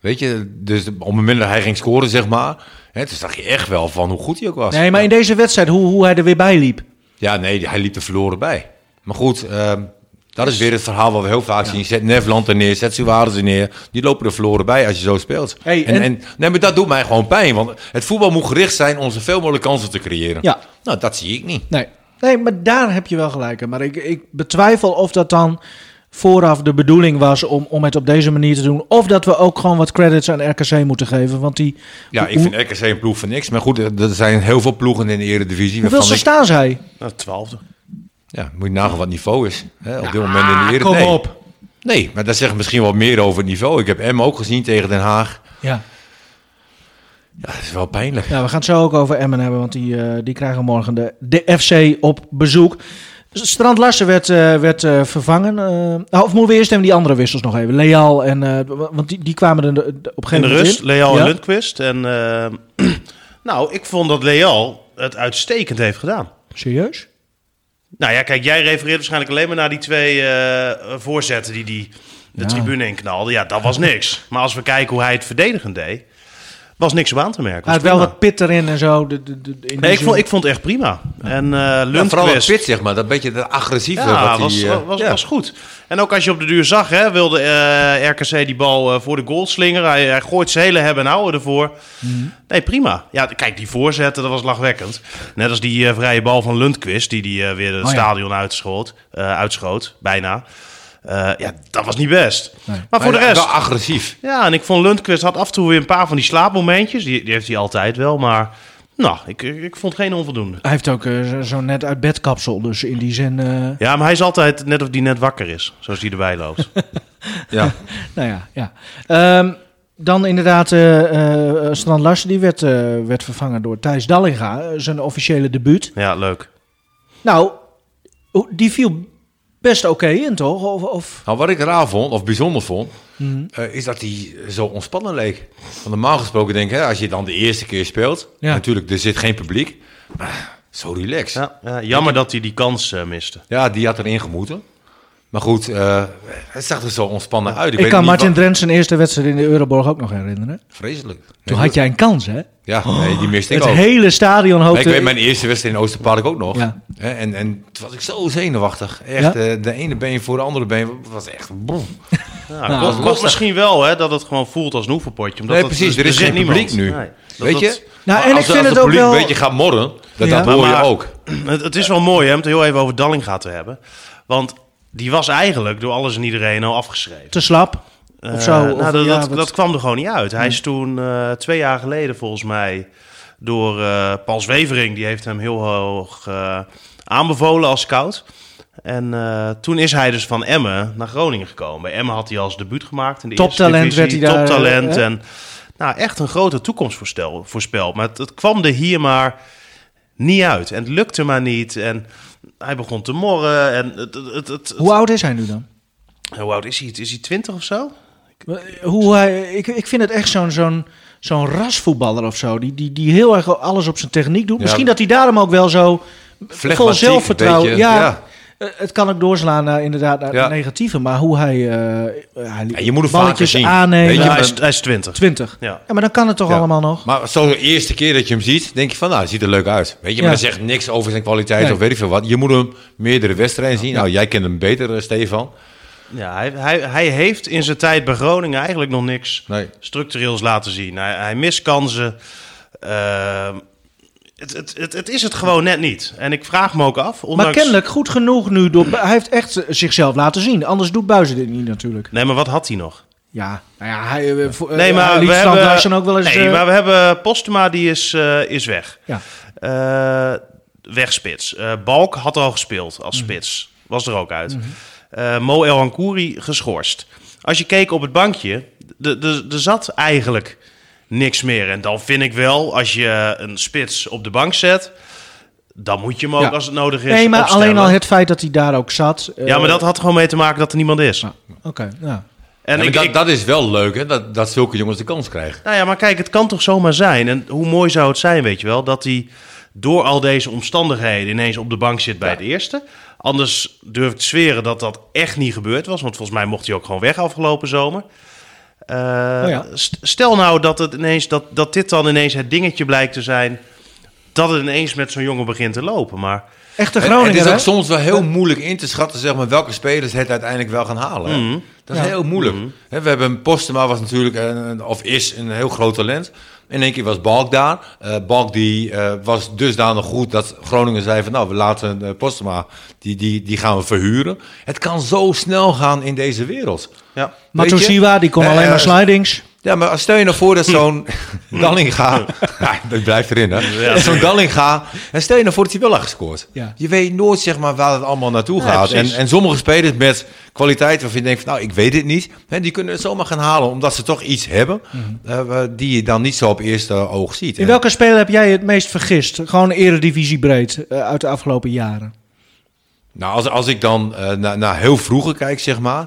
Speaker 4: Weet je, dus op het moment dat hij ging scoren zeg maar, hè, toen zag je echt wel van hoe goed hij ook was.
Speaker 3: Nee, maar in deze wedstrijd, hoe, hoe hij er weer bij liep.
Speaker 4: Ja, nee, hij liep er verloren bij. Maar goed, ehm, dat is weer het verhaal wat we heel vaak zien. Zet Nederland er neer, zet Suarez er neer. Die lopen er verloren bij als je zo speelt.
Speaker 3: Hey,
Speaker 4: en,
Speaker 3: en-
Speaker 4: en... nee, maar dat doet mij gewoon pijn. Want het voetbal moet gericht zijn om zoveel mogelijk kansen te creëren.
Speaker 3: Ja.
Speaker 4: Nou, dat zie ik niet.
Speaker 3: Nee. nee, maar daar heb je wel gelijk in. Maar ik, ik betwijfel of dat dan vooraf de bedoeling was om, om het op deze manier te doen. Of dat we ook gewoon wat credits aan RKC moeten geven. Want die,
Speaker 4: Ja, ik
Speaker 3: hoe-
Speaker 4: vind RKC een ploeg van niks. Maar goed, er er zijn heel veel ploegen in de Eredivisie.
Speaker 3: hoeveel
Speaker 4: waarvan ik-
Speaker 3: staan zij?
Speaker 2: Nou, twaalfde.
Speaker 4: Ja, moet je nagaan wat het niveau is. Hè, op dit moment in de Eredivisie.
Speaker 3: Ah, kom
Speaker 4: nee.
Speaker 3: op.
Speaker 4: Nee, maar dat zegt misschien wel meer over het niveau. Ik heb Emmen ook gezien tegen Den Haag.
Speaker 3: Ja.
Speaker 4: Ja, dat is wel pijnlijk.
Speaker 3: ja, Nou, we gaan het zo ook over Emmen hebben, want die, eh, die krijgen morgen de, de FC op bezoek. Strand Larsen werd, eh, werd eh, vervangen. eh. Nou, of moeten we eerst even die andere wissels nog even? Leal en... eh, wa- want die, die kwamen er de- de- op een gegeven
Speaker 2: In de
Speaker 3: moment
Speaker 2: rust,
Speaker 3: in.
Speaker 2: Leal
Speaker 3: Ja.
Speaker 2: en Lundqvist. En, ehm, *clears throat* nou, ik vond dat Leal het uitstekend heeft gedaan.
Speaker 3: Serieus?
Speaker 2: Nou ja, kijk, jij refereert waarschijnlijk alleen maar naar die twee eh, voorzetten die die de
Speaker 3: Ja.
Speaker 2: tribune in knalde. Ja, dat was niks. Maar als we kijken hoe hij het verdedigend deed, was niks op aan te merken.
Speaker 3: Hij had
Speaker 2: Was
Speaker 3: wel
Speaker 2: prima.
Speaker 3: wat pit erin en zo. De, de, de, in die
Speaker 2: Nee, ik
Speaker 3: zin.
Speaker 2: vond, ik vond het echt prima. En eh
Speaker 4: Ja, vooral dat
Speaker 2: Lundqvist...
Speaker 4: pit, zeg maar. Dat beetje dat agressieve.
Speaker 2: Ja,
Speaker 4: wat
Speaker 2: was,
Speaker 4: die, eh,
Speaker 2: was, was,
Speaker 4: ja.
Speaker 2: was goed. En ook als je op de duur zag, hè, wilde eh, RKC die bal eh, voor de goal slingeren. Hij, hij gooit zijn hele hebben en houden ervoor.
Speaker 4: Mhm.
Speaker 2: Nee, prima. Ja, d- kijk, die voorzetten, dat was lachwekkend. Net als die eh, vrije bal van Lundqvist, die die eh, weer het
Speaker 3: ja.
Speaker 4: Oh
Speaker 2: stadion uitschoot, eh, uitschoot, bijna. Eh, ja, dat was niet best. Maar voor de
Speaker 4: Maar
Speaker 2: rest...
Speaker 4: Wel
Speaker 2: *laughs*
Speaker 4: agressief.
Speaker 2: Ja, en ik vond Lundqvist had af en toe weer een paar van die slaapmomentjes. Die, die heeft hij altijd wel, maar... Nou, ik, ik ik vond geen onvoldoende.
Speaker 3: Hij heeft ook eh, zo- zo'n net uit bed kapsel, dus in die zin... eh,
Speaker 2: Ja, maar hij is altijd net of die net wakker is, zoals die erbij loopt.
Speaker 4: Ja.
Speaker 3: Nou ja, ja. Ehm, dan inderdaad, eh, eh, Strand Larsen die werd, eh, werd vervangen door Thijs Dallinga, eh, zijn officiële debuut.
Speaker 2: Ja, leuk.
Speaker 3: Nou, hoe- die viel best oké in, toch? Of, of...
Speaker 4: Nou, wat ik raar vond, of bijzonder vond, eh, is dat hij zo ontspannen leek. Want normaal gesproken denk ik, hè, als je dan de eerste keer speelt,
Speaker 3: Ja.
Speaker 4: natuurlijk, er zit geen publiek, maar zo relaxed. Ja.
Speaker 2: Ja, ja, jammer dat hij die kans eh, miste.
Speaker 4: die had erin gemoeten. Maar goed, eh het zag er zo ontspannen uit.
Speaker 3: Ik,
Speaker 4: weet
Speaker 3: kan
Speaker 4: niet
Speaker 3: Martin
Speaker 4: wat-
Speaker 3: Drent zijn eerste wedstrijd in de Euroborg ook nog herinneren.
Speaker 4: Vreselijk.
Speaker 3: Toen
Speaker 4: Nee,
Speaker 3: had jij een kans, hè?
Speaker 4: Ja, nee, die miste ik
Speaker 3: Het
Speaker 4: ook.
Speaker 3: hele stadion
Speaker 4: Maar
Speaker 3: hoopte...
Speaker 4: ik weet mijn eerste wedstrijd in Oosterpark ook nog.
Speaker 3: Ja.
Speaker 4: Hè, En, en toen was ik zo zenuwachtig.
Speaker 3: Ja?
Speaker 4: Echt, eh, de ene been voor de andere been was echt... Boom.
Speaker 2: Ja,
Speaker 3: Nou,
Speaker 2: klopt, klopt
Speaker 4: lastig.
Speaker 2: misschien wel hè, dat het gewoon voelt als een oefenpotje. Omdat
Speaker 4: Nee,
Speaker 2: dat-
Speaker 4: precies. Er is
Speaker 2: zit
Speaker 4: geen publiek
Speaker 2: niemand.
Speaker 4: nu.
Speaker 2: Nee. Dat-
Speaker 4: Weet
Speaker 2: dat-
Speaker 4: je?
Speaker 3: Nou, en
Speaker 4: als,
Speaker 3: ik vind het
Speaker 4: als het
Speaker 3: ook
Speaker 4: publiek
Speaker 3: wel-
Speaker 4: een beetje gaat morren, dat,
Speaker 3: Ja.
Speaker 4: dat hoor je
Speaker 2: Maar-
Speaker 4: ook.
Speaker 2: *clears throat* Het, het is wel mooi hè, om het heel even over Dallinga te hebben. Want die was eigenlijk door alles en iedereen al afgeschreven.
Speaker 3: Te slap,
Speaker 2: Eh,
Speaker 3: of zo.
Speaker 2: nou,
Speaker 3: of,
Speaker 2: dat,
Speaker 3: ja,
Speaker 2: dat,
Speaker 3: wat- Hm.
Speaker 2: dat kwam er gewoon niet uit. Hij is toen eh, twee jaar geleden volgens mij door eh, Paul Zwevering... die heeft hem heel hoog eh, aanbevolen als scout... En eh, toen is hij dus van Emmen naar Groningen gekomen. Bij Emmen had hij als debuut gemaakt in de
Speaker 3: Toptalent
Speaker 2: eerste divisie.
Speaker 3: werd hij daar,
Speaker 2: Toptalent
Speaker 3: eh,
Speaker 2: en nou, echt een grote toekomst voorstel- voorspeld. Maar het, het kwam er hier maar niet uit. En het lukte maar niet. En hij begon te morren. En het, het, het, het-
Speaker 3: Hoe oud is hij nu dan?
Speaker 2: hoe oud is hij? Is hij twintig of zo?
Speaker 3: Hoe hij, ik, ik vind het echt zo'n zo'n zo'n rasvoetballer of zo. Die, die, die heel erg alles op zijn techniek doet.
Speaker 4: Ja.
Speaker 3: Misschien dat hij daarom ook wel zo vol
Speaker 4: Flegmatiek,
Speaker 3: zelfvertrouwen.
Speaker 4: een beetje,
Speaker 3: Ja,
Speaker 4: ja.
Speaker 3: eh, Het kan ook doorslaan naar, inderdaad, naar
Speaker 4: Ja.
Speaker 3: het negatieve. Maar hoe hij, eh, hij
Speaker 4: je moet het vaker
Speaker 3: balletjes
Speaker 4: zien.
Speaker 3: aanneemt.
Speaker 4: Weet je,
Speaker 2: Ja,
Speaker 3: Ja,
Speaker 2: hij,
Speaker 4: maar-
Speaker 2: is, hij is twintig.
Speaker 3: 20. Ja.
Speaker 2: Ja.
Speaker 3: maar dan kan het toch
Speaker 4: Ja.
Speaker 3: allemaal nog?
Speaker 4: Maar zo de eerste keer dat je hem ziet, denk je van, nou, het ziet er leuk uit. Weet je, maar
Speaker 3: Ja.
Speaker 4: dat zegt niks over zijn kwaliteit
Speaker 3: Nee.
Speaker 4: of weet ik veel wat. Je moet hem meerdere wedstrijden zien. Nou, jij kent hem beter, eh, Stefan.
Speaker 2: Ja, hij, hij, hij heeft in zijn tijd bij Groningen eigenlijk nog niks
Speaker 4: Nee.
Speaker 2: structureels laten zien. Hij, hij mist kansen. Ehm, het, het, het, het is het gewoon net niet. En ik vraag me ook af. Ondanks...
Speaker 3: Maar kennelijk goed genoeg nu. Door, hij heeft echt zichzelf laten zien. Anders doet Buizen dit niet natuurlijk.
Speaker 2: Nee, maar wat had hij nog?
Speaker 3: Ja, nou ja hij, eh, voor-
Speaker 2: Nee,
Speaker 3: eh,
Speaker 2: maar
Speaker 3: hij liet
Speaker 2: we
Speaker 3: Strand
Speaker 2: hebben.
Speaker 3: Larsen ook wel eens...
Speaker 2: nee,
Speaker 3: eh,
Speaker 2: maar we hebben Postuma, die is, eh, is weg.
Speaker 3: ja. Mhm.
Speaker 2: Eh, wegspits. Eh, Balk had al gespeeld als spits. Was er ook uit. eh, Mo El Hankouri geschorst. Als je keek op het bankje, d- d- er zat eigenlijk niks meer. En dan vind ik wel, als je een spits op de bank zet, dan moet je hem ook
Speaker 3: Ja.
Speaker 2: als het nodig is
Speaker 3: Nee, maar
Speaker 2: opstellen.
Speaker 3: alleen al het feit dat hij daar ook zat. eh,
Speaker 2: Ja, maar dat had gewoon mee te maken dat er niemand is.
Speaker 3: Oké, ja.
Speaker 2: En
Speaker 4: Ja, maar
Speaker 2: ik,
Speaker 4: dat,
Speaker 2: ik-
Speaker 4: dat is wel leuk, hè? Dat, dat zulke jongens de kans krijgen.
Speaker 2: Nou ja, maar kijk, het kan toch zomaar zijn. En hoe mooi zou het zijn, weet je wel, dat hij door al deze omstandigheden ineens op de bank zit bij het eerste. Anders durf ik te zweren dat dat echt niet gebeurd was. Want volgens mij mocht hij ook gewoon weg afgelopen zomer. Eh,
Speaker 3: Oh ja.
Speaker 2: st- Stel nou dat, het ineens, dat, dat dit dan ineens het dingetje blijkt te zijn. Dat het ineens met zo'n jongen begint te lopen. Maar
Speaker 3: Echte
Speaker 4: En- en
Speaker 3: Groninger,
Speaker 4: het is
Speaker 3: hè?
Speaker 4: ook soms wel heel moeilijk in te schatten zeg maar, welke spelers het uiteindelijk wel gaan halen. hè. Dat is
Speaker 3: Ja.
Speaker 4: heel moeilijk. Hè, we hebben Postema was natuurlijk, een, of is een heel groot talent. In één keer was Balk daar. Eh, Balk die, eh, was dusdanig goed dat Groningen zei van nou, we laten eh, Postema, die, die, die gaan we verhuren. Het kan zo snel gaan in deze wereld.
Speaker 2: ja.
Speaker 4: Weet je?
Speaker 3: Matosiwa, die kon
Speaker 4: Eh,
Speaker 3: alleen maar
Speaker 4: eh,
Speaker 3: slidings.
Speaker 4: Ja, maar stel je nou voor dat *laughs* zo'n Dallinga... Hmm. *laughs* ja, dat blijft erin, hè? Dat *laughs* zo'n Dallinga... En stel je nou voor dat hij wel had gescoord.
Speaker 3: Ja.
Speaker 4: Je weet nooit, zeg maar, waar het allemaal naartoe
Speaker 2: Nee,
Speaker 4: gaat. En,
Speaker 2: precies.
Speaker 4: en sommige spelers met kwaliteit waarvan je denkt... Van, nou, ik weet het niet. Hè, die kunnen het zomaar gaan halen, omdat ze toch iets hebben... eh, die je dan niet zo op eerste oog ziet.
Speaker 3: Mhm. In welke speler heb jij het meest vergist? Gewoon eredivisiebreed eh, uit de afgelopen jaren.
Speaker 4: Nou, als, als ik dan eh, naar, naar heel vroeger kijk, zeg maar.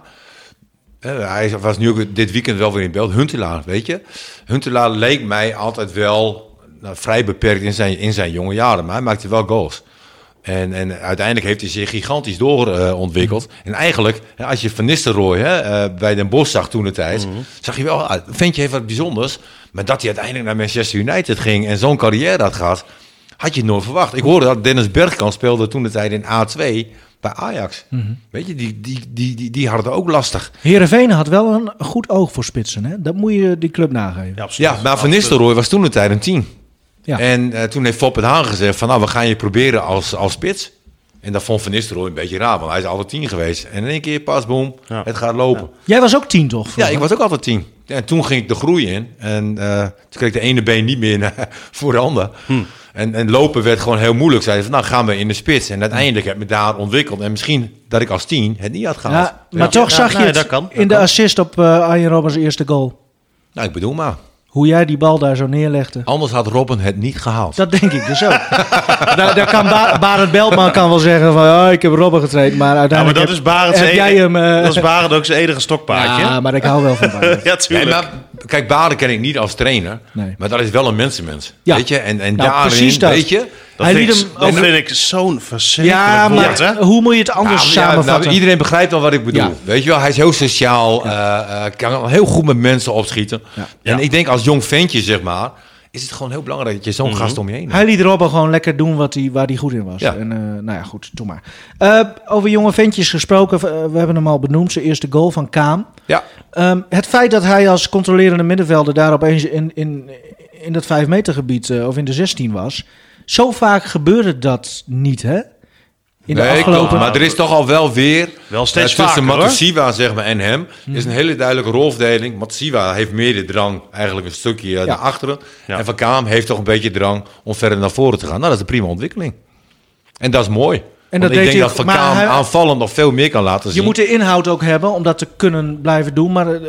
Speaker 4: eh, hij was nu ook dit weekend wel weer in beeld. Huntelaar, weet je. Huntelaar leek mij altijd wel nou, vrij beperkt in zijn, in zijn jonge jaren. Maar hij maakte wel goals. En, en uiteindelijk heeft hij zich gigantisch doorontwikkeld. en eigenlijk, hè, als je Van Nistelrooy hè, eh, bij Den Bosch zag toen de tijd... zag je wel, ah, vind je even wat bijzonders. Maar dat hij uiteindelijk naar Manchester United ging... en zo'n carrière had gehad, had je nooit verwacht. Ik hoorde dat Dennis Bergkamp speelde toen de tijd in A2 bij Ajax. Weet je, die, die, die, die, die hadden ook lastig.
Speaker 3: Heerenveen had wel een goed oog voor spitsen, hè? Dat moet je die club nageven.
Speaker 2: Ja, absoluut.
Speaker 4: Ja, maar Van Nistelrooy was toen de tijd een 10.
Speaker 3: Ja.
Speaker 4: En eh, toen heeft Fop het Haan gezegd van nou, we gaan je proberen als, als spits. En dat vond Van Nistelrooy een beetje raar, want hij is altijd 10 geweest. En in één keer pas, boom,
Speaker 2: Ja.
Speaker 4: het gaat lopen.
Speaker 3: Jij was ook tien, toch?
Speaker 4: Ja,
Speaker 3: vroeger?
Speaker 4: ik was ook altijd 10. En toen ging ik de groei in. En eh, toen kreeg ik de ene been niet meer *laughs* voor de ander.
Speaker 3: Hmm.
Speaker 4: En, en lopen werd gewoon heel moeilijk. Zeiden van, nou gaan we in de spits. En uiteindelijk heb ik me daar ontwikkeld. En misschien dat ik als 10 het niet had
Speaker 3: Ja,
Speaker 4: gehaald.
Speaker 3: maar toch
Speaker 2: Ja,
Speaker 3: zag je
Speaker 2: nee,
Speaker 3: het
Speaker 2: dat kan, dat
Speaker 3: in de
Speaker 2: kan.
Speaker 3: assist op eh Arjen Robbers eerste goal.
Speaker 4: Nou, ik bedoel maar.
Speaker 3: Hoe jij die bal daar zo neerlegde.
Speaker 4: Anders had Robben het niet gehaald.
Speaker 3: Dat denk ik dus ook. Nou, daar, daar kan ba Barend Beltman kan wel zeggen van... Oh, ik heb Robben getraind, maar
Speaker 2: Ja, maar
Speaker 3: uiteindelijk
Speaker 2: dat is
Speaker 3: heb,
Speaker 2: Barend's
Speaker 3: heb jij
Speaker 2: enige-
Speaker 3: hem... eh,
Speaker 2: dat is Barend ook zijn enige stokpaardje.
Speaker 3: ja,
Speaker 2: *laughs* Ja,
Speaker 3: maar ik hou wel van Barend.
Speaker 2: *laughs*
Speaker 4: Nee,
Speaker 2: tuurlijk.
Speaker 4: maar, kijk, Baden ken ik niet als trainer.
Speaker 3: Nee.
Speaker 4: Maar dat is wel een mensenmens.
Speaker 3: Ja.
Speaker 4: Weet je? En, en
Speaker 3: Nou,
Speaker 4: daarin,
Speaker 3: precies dat.
Speaker 4: weet je...
Speaker 2: dat
Speaker 3: Hij
Speaker 2: vind,
Speaker 3: liet
Speaker 2: ik,
Speaker 3: hem
Speaker 2: dat
Speaker 3: over-
Speaker 2: vind ik zo'n verschrikkelijk
Speaker 3: Ja,
Speaker 2: woord,
Speaker 3: maar
Speaker 2: hè?
Speaker 3: hoe moet je het anders
Speaker 4: Nou, ja, nou,
Speaker 3: samenvatten?
Speaker 4: iedereen begrijpt wel wat ik bedoel.
Speaker 3: Ja.
Speaker 4: Weet je wel, hij is heel sociaal, eh, eh, kan heel goed met mensen opschieten. En
Speaker 2: Ja.
Speaker 4: ik denk als jong ventje, zeg maar, is het gewoon heel belangrijk dat je zo'n gast om je heen hebt.
Speaker 3: Mhm. Hij liet Robben gewoon lekker doen wat hij, waar hij goed in was.
Speaker 4: Ja.
Speaker 3: En, eh, nou ja, goed, doe maar. Eh, over jonge ventjes gesproken, eh, we hebben hem al benoemd. Zijn eerste goal van Kaam.
Speaker 4: Ja,
Speaker 3: Ehm, het feit dat hij als controlerende middenvelder daar opeens in, in, in dat 5 meter gebied eh, of in de 16 was. Zo vaak gebeurde dat niet, hè? In de
Speaker 4: Nee,
Speaker 3: afgelopen...
Speaker 4: klopt. Maar er is toch al wel weer...
Speaker 2: Wel steeds
Speaker 4: eh, Tussen
Speaker 2: vaker,
Speaker 4: Matsiwa zeg maar, en hem
Speaker 3: Hmm.
Speaker 4: is een hele duidelijke rolverdeling. Matsiwa heeft meer de drang eigenlijk een stukje eh, naar achteren.
Speaker 2: Ja.
Speaker 4: En Van Kaam heeft toch een beetje drang om verder naar voren te gaan. Nou, dat is een prima ontwikkeling. En dat is mooi. En
Speaker 3: dat
Speaker 4: ik
Speaker 3: deed
Speaker 4: denk
Speaker 3: hij-
Speaker 4: dat Van
Speaker 3: maar
Speaker 4: Kaam
Speaker 3: hij-
Speaker 4: aanvallend nog veel meer kan laten zien.
Speaker 3: Je moet de inhoud ook hebben om dat te kunnen blijven doen. Maar eh,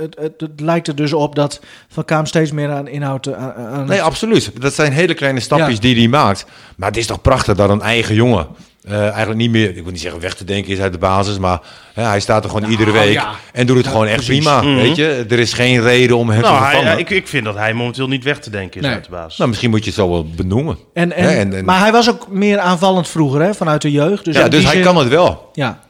Speaker 3: het, het, het lijkt er dus op dat Van Kaam steeds meer aan inhoud... eh, Aan, aan-
Speaker 4: Nee, absoluut. Dat zijn hele kleine stapjes
Speaker 3: Ja.
Speaker 4: die hij maakt. Maar het is toch prachtig dat een eigen jongen eh, eigenlijk niet meer, ik wil niet zeggen weg te denken is uit de basis, maar hè, hij staat er gewoon
Speaker 3: Nou,
Speaker 4: iedere week en doet het gewoon echt prima.
Speaker 3: Mhm.
Speaker 4: Weet je, er is geen reden om hem te
Speaker 2: Nou, hij-
Speaker 4: vervangen.
Speaker 2: hij- ik, ik vind dat hij momenteel niet weg te denken is
Speaker 3: Nee.
Speaker 2: uit de basis.
Speaker 4: Nou, misschien moet je het zo wel benoemen.
Speaker 3: En, en,
Speaker 4: Hè, en- en-
Speaker 3: Maar hij was ook meer aanvallend vroeger, hè, vanuit de jeugd. Dus
Speaker 4: ja,
Speaker 3: in
Speaker 4: dus
Speaker 3: die
Speaker 4: hij
Speaker 3: zin-
Speaker 4: kan het wel.
Speaker 3: Ja.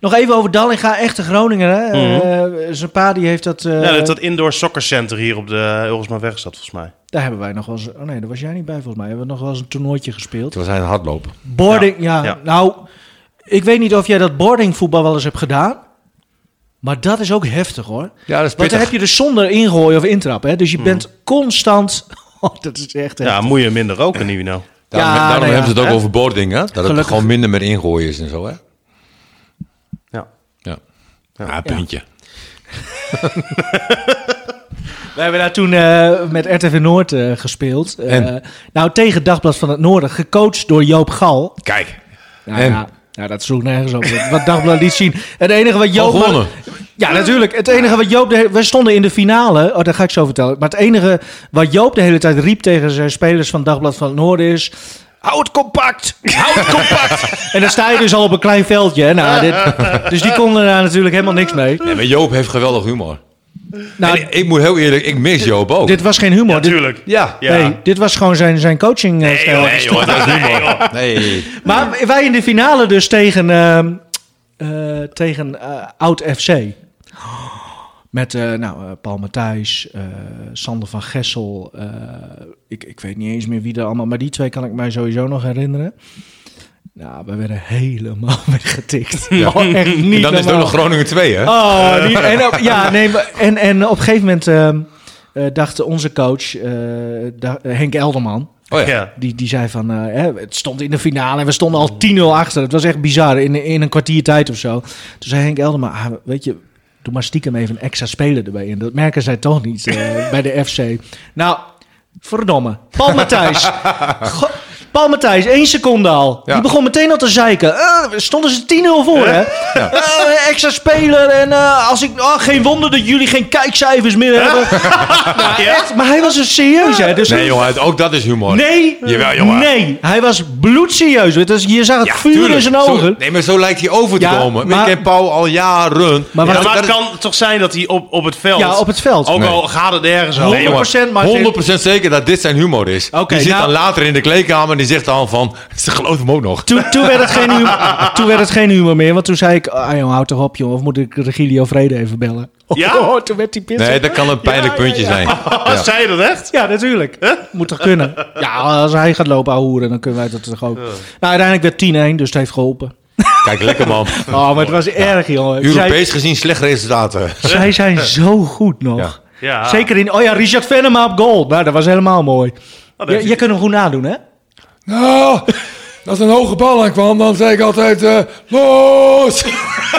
Speaker 3: Nog even over Dallinga, echte Groninger. Hè?
Speaker 4: Mhm.
Speaker 3: Eh, zijn pa die heeft dat, eh,
Speaker 2: ja, dat, dat indoor soccercenter hier op de eh, Ulrismaanweg staat, volgens mij.
Speaker 3: Daar hebben wij nog wel eens... Oh nee, daar was jij niet bij volgens mij. Hebben we nog wel eens een toernooitje gespeeld.
Speaker 4: Toen was hij een hardloper.
Speaker 3: Boarding, ja.
Speaker 2: ja.
Speaker 3: Nou, ik weet niet of jij dat boardingvoetbal wel eens hebt gedaan. Maar dat is ook heftig hoor.
Speaker 4: Ja, dat is
Speaker 3: Want dan
Speaker 4: pittig. Hmm.
Speaker 3: heb je dus zonder ingooien of intrappen. Hè? Dus je bent constant... *laughs* Oh, dat is echt heftig.
Speaker 2: Ja, moet je minder roken, nieuw nou.
Speaker 4: Daarom,
Speaker 3: Ja,
Speaker 4: daarom
Speaker 3: nou ja,
Speaker 4: hebben ze het ook
Speaker 2: hè?
Speaker 4: over boarding, hè? dat het
Speaker 3: Gelukkig.
Speaker 4: gewoon minder met ingooien is en zo. Hè?
Speaker 2: Ja.
Speaker 4: Ja. Ja, puntje.
Speaker 3: We hebben daar toen eh, met RTV Noord eh, gespeeld. Eh,
Speaker 4: En?
Speaker 3: nou, tegen Dagblad van het Noorden. Gecoacht door Joop Gal.
Speaker 4: Kijk.
Speaker 3: Nou
Speaker 4: En?
Speaker 3: ja, Nou, dat sloeg nergens op. Wat- Wat Dagblad liet zien. Het enige wat
Speaker 4: Al
Speaker 3: Joop...
Speaker 4: gewonnen.
Speaker 3: Ja, natuurlijk. Het enige wat Joop... De, wij stonden in de finale. Oh, daar ga ik zo vertellen. Maar het enige wat Joop de hele tijd riep tegen zijn spelers van Dagblad van het Noorden is... Hou het compact! Hou het
Speaker 4: *laughs*
Speaker 3: compact! en dan sta je dus al op een klein veldje. hè. Nou, dit, dus die konden daar natuurlijk helemaal niks mee.
Speaker 4: Nee, maar Joop heeft geweldig humor.
Speaker 3: Nou,
Speaker 4: En ik moet heel eerlijk, ik mis Joop ook.
Speaker 3: dit was geen humor. Dit-
Speaker 2: Natuurlijk.
Speaker 4: ja.
Speaker 2: Ja.
Speaker 3: Nee, dit was gewoon zijn, zijn coaching. eh, stijl.
Speaker 4: Nee, joh, dat is
Speaker 2: *laughs*
Speaker 4: humor. Nee.
Speaker 3: Maar wij in de finale dus tegen, ehm, eh, tegen eh, Oud FC. Met eh, nou, eh, Paul Matthijs, eh, Sander van Gessel. eh, ik, ik weet niet eens meer wie er allemaal... Maar die twee kan ik mij sowieso nog herinneren. Nou, we werden helemaal *laughs* weggetikt.
Speaker 4: Ja.
Speaker 3: Oh, echt niet
Speaker 4: En dan is het ook
Speaker 3: normaal.
Speaker 4: nog Groningen 2, hè?
Speaker 3: Oh,
Speaker 4: *laughs*
Speaker 3: die- en, op- ja, nee, maar- en, en op een gegeven moment ehm, eh, dacht onze coach, eh, da- Henk Elderman...
Speaker 4: Oh ja.
Speaker 2: Ja.
Speaker 3: Die, die zei van, eh, hè, het stond in de finale en we stonden al 10-0 achter. Het was echt bizar, in, in een kwartier tijd of zo. Toen zei Henk Elderman, ah, weet je, doe maar stiekem even een extra speler erbij in. Dat merken zij toch niet
Speaker 4: *laughs*
Speaker 3: eh, bij de FC. Nou, verdomme. Paul
Speaker 4: *laughs*
Speaker 3: Matthijs. Go- Paul Matthijs, één seconde al.
Speaker 4: Ja.
Speaker 3: Die begon meteen al te zeiken. Eh, stonden ze 10-0 voor, hè? Eh, extra speler en eh, als ik... Oh, geen wonder dat jullie geen kijkcijfers meer
Speaker 4: *laughs*
Speaker 3: hebben. Nou, echt, maar hij was dus serieus, hè? Dus
Speaker 4: Nee, jongen, ook dat is humor.
Speaker 3: Nee.
Speaker 4: Oh, Jawel, jongen.
Speaker 3: Nee, hij was bloedserieus. Het is- je zag het vuur in
Speaker 4: Tuurlijk,
Speaker 3: zijn
Speaker 4: zo-
Speaker 3: ogen.
Speaker 4: nee, maar zo lijkt hij over te
Speaker 3: Ja,
Speaker 4: komen.
Speaker 3: maar-
Speaker 4: ik ken Paul al jaren.
Speaker 3: Maar wat-
Speaker 2: Ja,
Speaker 4: dat- dat
Speaker 2: maar het
Speaker 4: is-
Speaker 2: kan toch zijn dat hij op, op het veld...
Speaker 3: Ja, op het veld.
Speaker 2: Ook
Speaker 4: Nee.
Speaker 2: al gaat het ergens over.
Speaker 3: Nee,
Speaker 2: *laughs*
Speaker 3: jongen. 100% Martin.
Speaker 4: 100% zeker dat dit zijn humor is.
Speaker 3: Oké,
Speaker 4: die zit
Speaker 3: nou-
Speaker 4: dan later in de kleedkamer en die zegt dan van... *laughs* Ze geloven hem ook nog.
Speaker 3: Toen, toen, werd het geen humor, toen werd het geen humor meer, want toen zei ik... Ah joh, houd toch op joh, of moet ik Regilio Vrede even bellen? *laughs*
Speaker 2: Ja?
Speaker 3: Oh, toen werd hij pissig.
Speaker 4: Nee, dat kan een pijnlijk
Speaker 3: Ja, ja,
Speaker 4: puntje
Speaker 3: ja.
Speaker 4: zijn.
Speaker 3: *laughs*
Speaker 2: Ah, Zei je dat echt?
Speaker 3: Ja, natuurlijk. Moet toch kunnen? Ja, als hij gaat lopen ahoeren, dan kunnen wij dat toch ook. Nou, uiteindelijk werd 10-1, dus het heeft geholpen.
Speaker 4: Kijk, lekker man.
Speaker 3: Oh, maar het was erg, jongen. Zij,
Speaker 4: Europees gezien slecht resultaten.
Speaker 3: zij zijn zo goed nog.
Speaker 4: Ja.
Speaker 2: Ja.
Speaker 3: Zeker in... Oh ja, Richard Venema op goal. Nou, dat was helemaal mooi.
Speaker 2: dat
Speaker 3: Je,
Speaker 2: is-
Speaker 3: je kunt hem goed nadoen, hè?
Speaker 4: Nou, als een hoge bal aankwam, dan zei ik altijd... eh, los!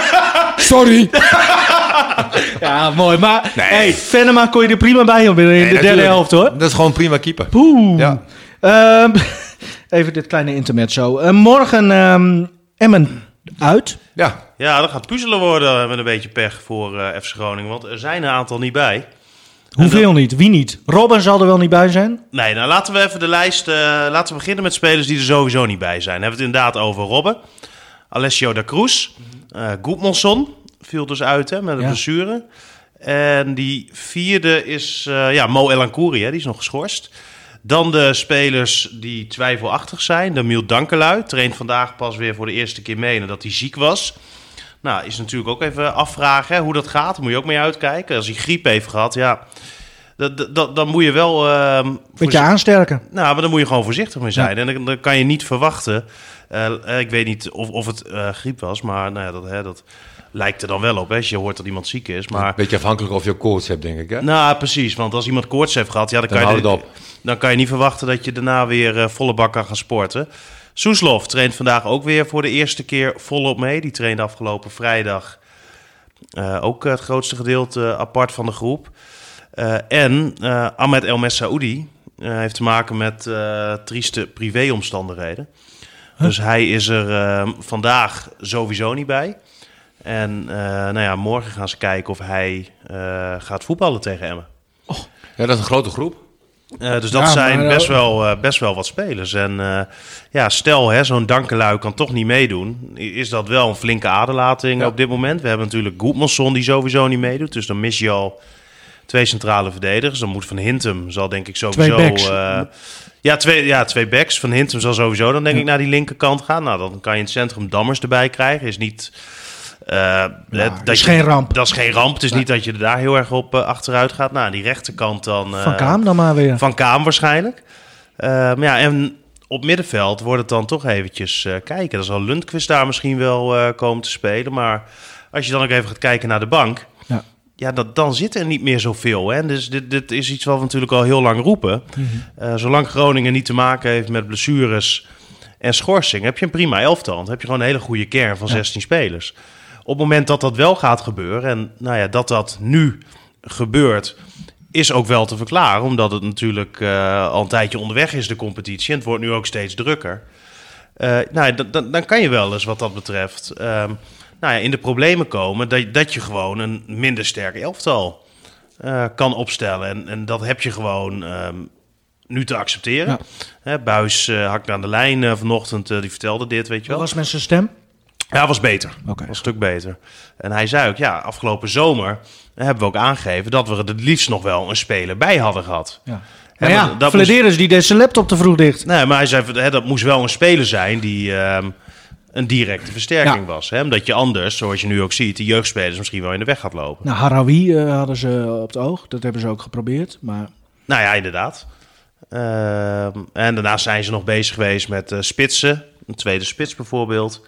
Speaker 4: *laughs* Sorry.
Speaker 3: Ja, mooi. Maar
Speaker 4: Nee.
Speaker 3: hey, Venema kon je er prima bij om in de derde helft, hoor.
Speaker 4: Dat is gewoon prima keeper.
Speaker 3: Poeh.
Speaker 4: Ja.
Speaker 3: Ehm, *laughs* even dit kleine intermezzo. Eh, morgen ehm, Emmen uit.
Speaker 4: Ja.
Speaker 2: Ja, dat gaat puzzelen worden met een beetje pech voor eh, FC Groningen. Want er zijn een aantal niet bij.
Speaker 3: Hoeveel niet? Wie niet? Robin zal er wel niet bij zijn.
Speaker 2: Nee, nou laten we even de lijst... eh, laten we beginnen met spelers die er sowieso niet bij zijn. Dan hebben we het inderdaad over Robben. Alessio da Cruz. eh Goedmanson viel dus uit hè, met een
Speaker 3: Ja.
Speaker 2: blessure. En die vierde is eh, ja, Mo Elankouri, hè, die is nog geschorst. Dan de spelers die twijfelachtig zijn. Damiel Dankelui traint vandaag pas weer voor de eerste keer mee nadat hij ziek was. Nou, is natuurlijk ook even afvragen hè, hoe dat gaat. Daar moet je ook mee uitkijken. Als hij griep heeft gehad, ja, dat, dat- dat, dan moet je wel... ehm,
Speaker 3: Beetje
Speaker 2: voorzi-
Speaker 3: aansterken.
Speaker 2: nou, maar daar moet je gewoon voorzichtig mee zijn. En dan, dan kan je niet verwachten. eh, eh, ik weet niet of, of het eh, griep was, maar nou ja, dat, hè, dat lijkt er dan wel op. Hè, als je hoort dat iemand ziek is. Maar,
Speaker 4: Beetje afhankelijk of je koorts hebt, denk ik. Hè?
Speaker 2: nou, precies. Want als iemand koorts heeft gehad, ja, dan,
Speaker 4: Dan
Speaker 2: kan, je,
Speaker 4: houdt het op.
Speaker 2: dan kan je niet verwachten dat je daarna weer eh, volle bak kan gaan sporten. Soeslof traint vandaag ook weer voor de eerste keer volop mee. Die trainde afgelopen vrijdag eh, ook het grootste gedeelte apart van de groep. Eh, en eh, Ahmed El Messaoudi eh, heeft te maken met eh, trieste privéomstandigheden. Dus hij is er eh, vandaag sowieso niet bij. En eh, nou ja, morgen gaan ze kijken of hij eh, gaat voetballen tegen Emmen.
Speaker 4: Ja, dat is een grote groep.
Speaker 2: Eh, dus dat
Speaker 3: Ja,
Speaker 2: zijn
Speaker 3: maar, eh,
Speaker 2: best, wel, eh, best wel wat spelers. En eh, ja, stel, hè, zo'n dankelui kan toch niet meedoen. I- Is dat wel een flinke aderlating op dit moment? We hebben natuurlijk Goedmanson die sowieso niet meedoet. Dus dan mis je al twee centrale verdedigers. Dan moet Van Hintem zal denk ik sowieso...
Speaker 3: Twee backs.
Speaker 2: eh, ja, twee, ja, twee backs. Van Hintem zal sowieso dan denk ik naar die linkerkant gaan. Nou, dan kan je in het centrum Dammers erbij krijgen. Is niet... eh, hè,
Speaker 3: is geen ramp.
Speaker 2: Dat is geen ramp. Het is niet dat je er daar heel erg op eh, achteruit gaat. Nou, aan die rechterkant dan...
Speaker 3: Van
Speaker 2: eh,
Speaker 3: Kaam dan maar weer.
Speaker 2: van Kaam waarschijnlijk. Eh, maar ja, en op middenveld wordt het dan toch eventjes eh, kijken. Dan zal Lundqvist daar misschien wel eh, komen te spelen. Maar als je dan ook even gaat kijken naar de bank...
Speaker 3: Ja.
Speaker 2: Ja, dat, dan zit er niet meer zoveel. Hè? Dus dit, dit is iets wat we natuurlijk al heel lang roepen. Eh, zolang Groningen niet te maken heeft met blessures en schorsing... heb je een prima elftal. Dan heb je gewoon een hele goede kern van 16 spelers. Op het moment dat dat wel gaat gebeuren... en nou ja, dat dat nu gebeurt is ook wel te verklaren, omdat het natuurlijk eh, al een tijdje onderweg is, de competitie. En het wordt nu ook steeds drukker. Eh, nou, dan- dan- dan kan je wel eens wat dat betreft ehm, nou ja, in de problemen komen dat, dat je gewoon een minder sterk elftal eh, kan opstellen. En, en dat heb je gewoon ehm, nu te accepteren.
Speaker 5: Ja.
Speaker 2: Hè, Buis eh hakte aan de lijn eh, vanochtend, eh, die vertelde dit, weet je
Speaker 3: Wat
Speaker 2: wel.
Speaker 3: was Oh, met zijn stem?
Speaker 2: Ja, was beter.
Speaker 5: Oké.
Speaker 2: Was een stuk beter. En hij zei ook, ja, afgelopen zomer eh, hebben we ook aangegeven dat we er het liefst nog wel een speler bij hadden gehad.
Speaker 5: Ja.
Speaker 3: Maar
Speaker 2: Hè,
Speaker 3: ja,
Speaker 2: want dat moest-
Speaker 3: Flederis die deed zijn laptop te vroeg dicht.
Speaker 2: Nee, maar hij zei, hè, dat moest wel een speler zijn die ehm, een directe versterking
Speaker 5: Ja.
Speaker 2: was. Hè? Omdat je anders, zoals je nu ook ziet, de jeugdspelers misschien wel in de weg gaat lopen.
Speaker 5: Nou, Harawi eh, hadden ze op het oog. Dat hebben ze ook geprobeerd. Maar
Speaker 2: Nou ja, inderdaad. Ehm, en daarnaast zijn ze nog bezig geweest met eh, spitsen. Een tweede spits bijvoorbeeld.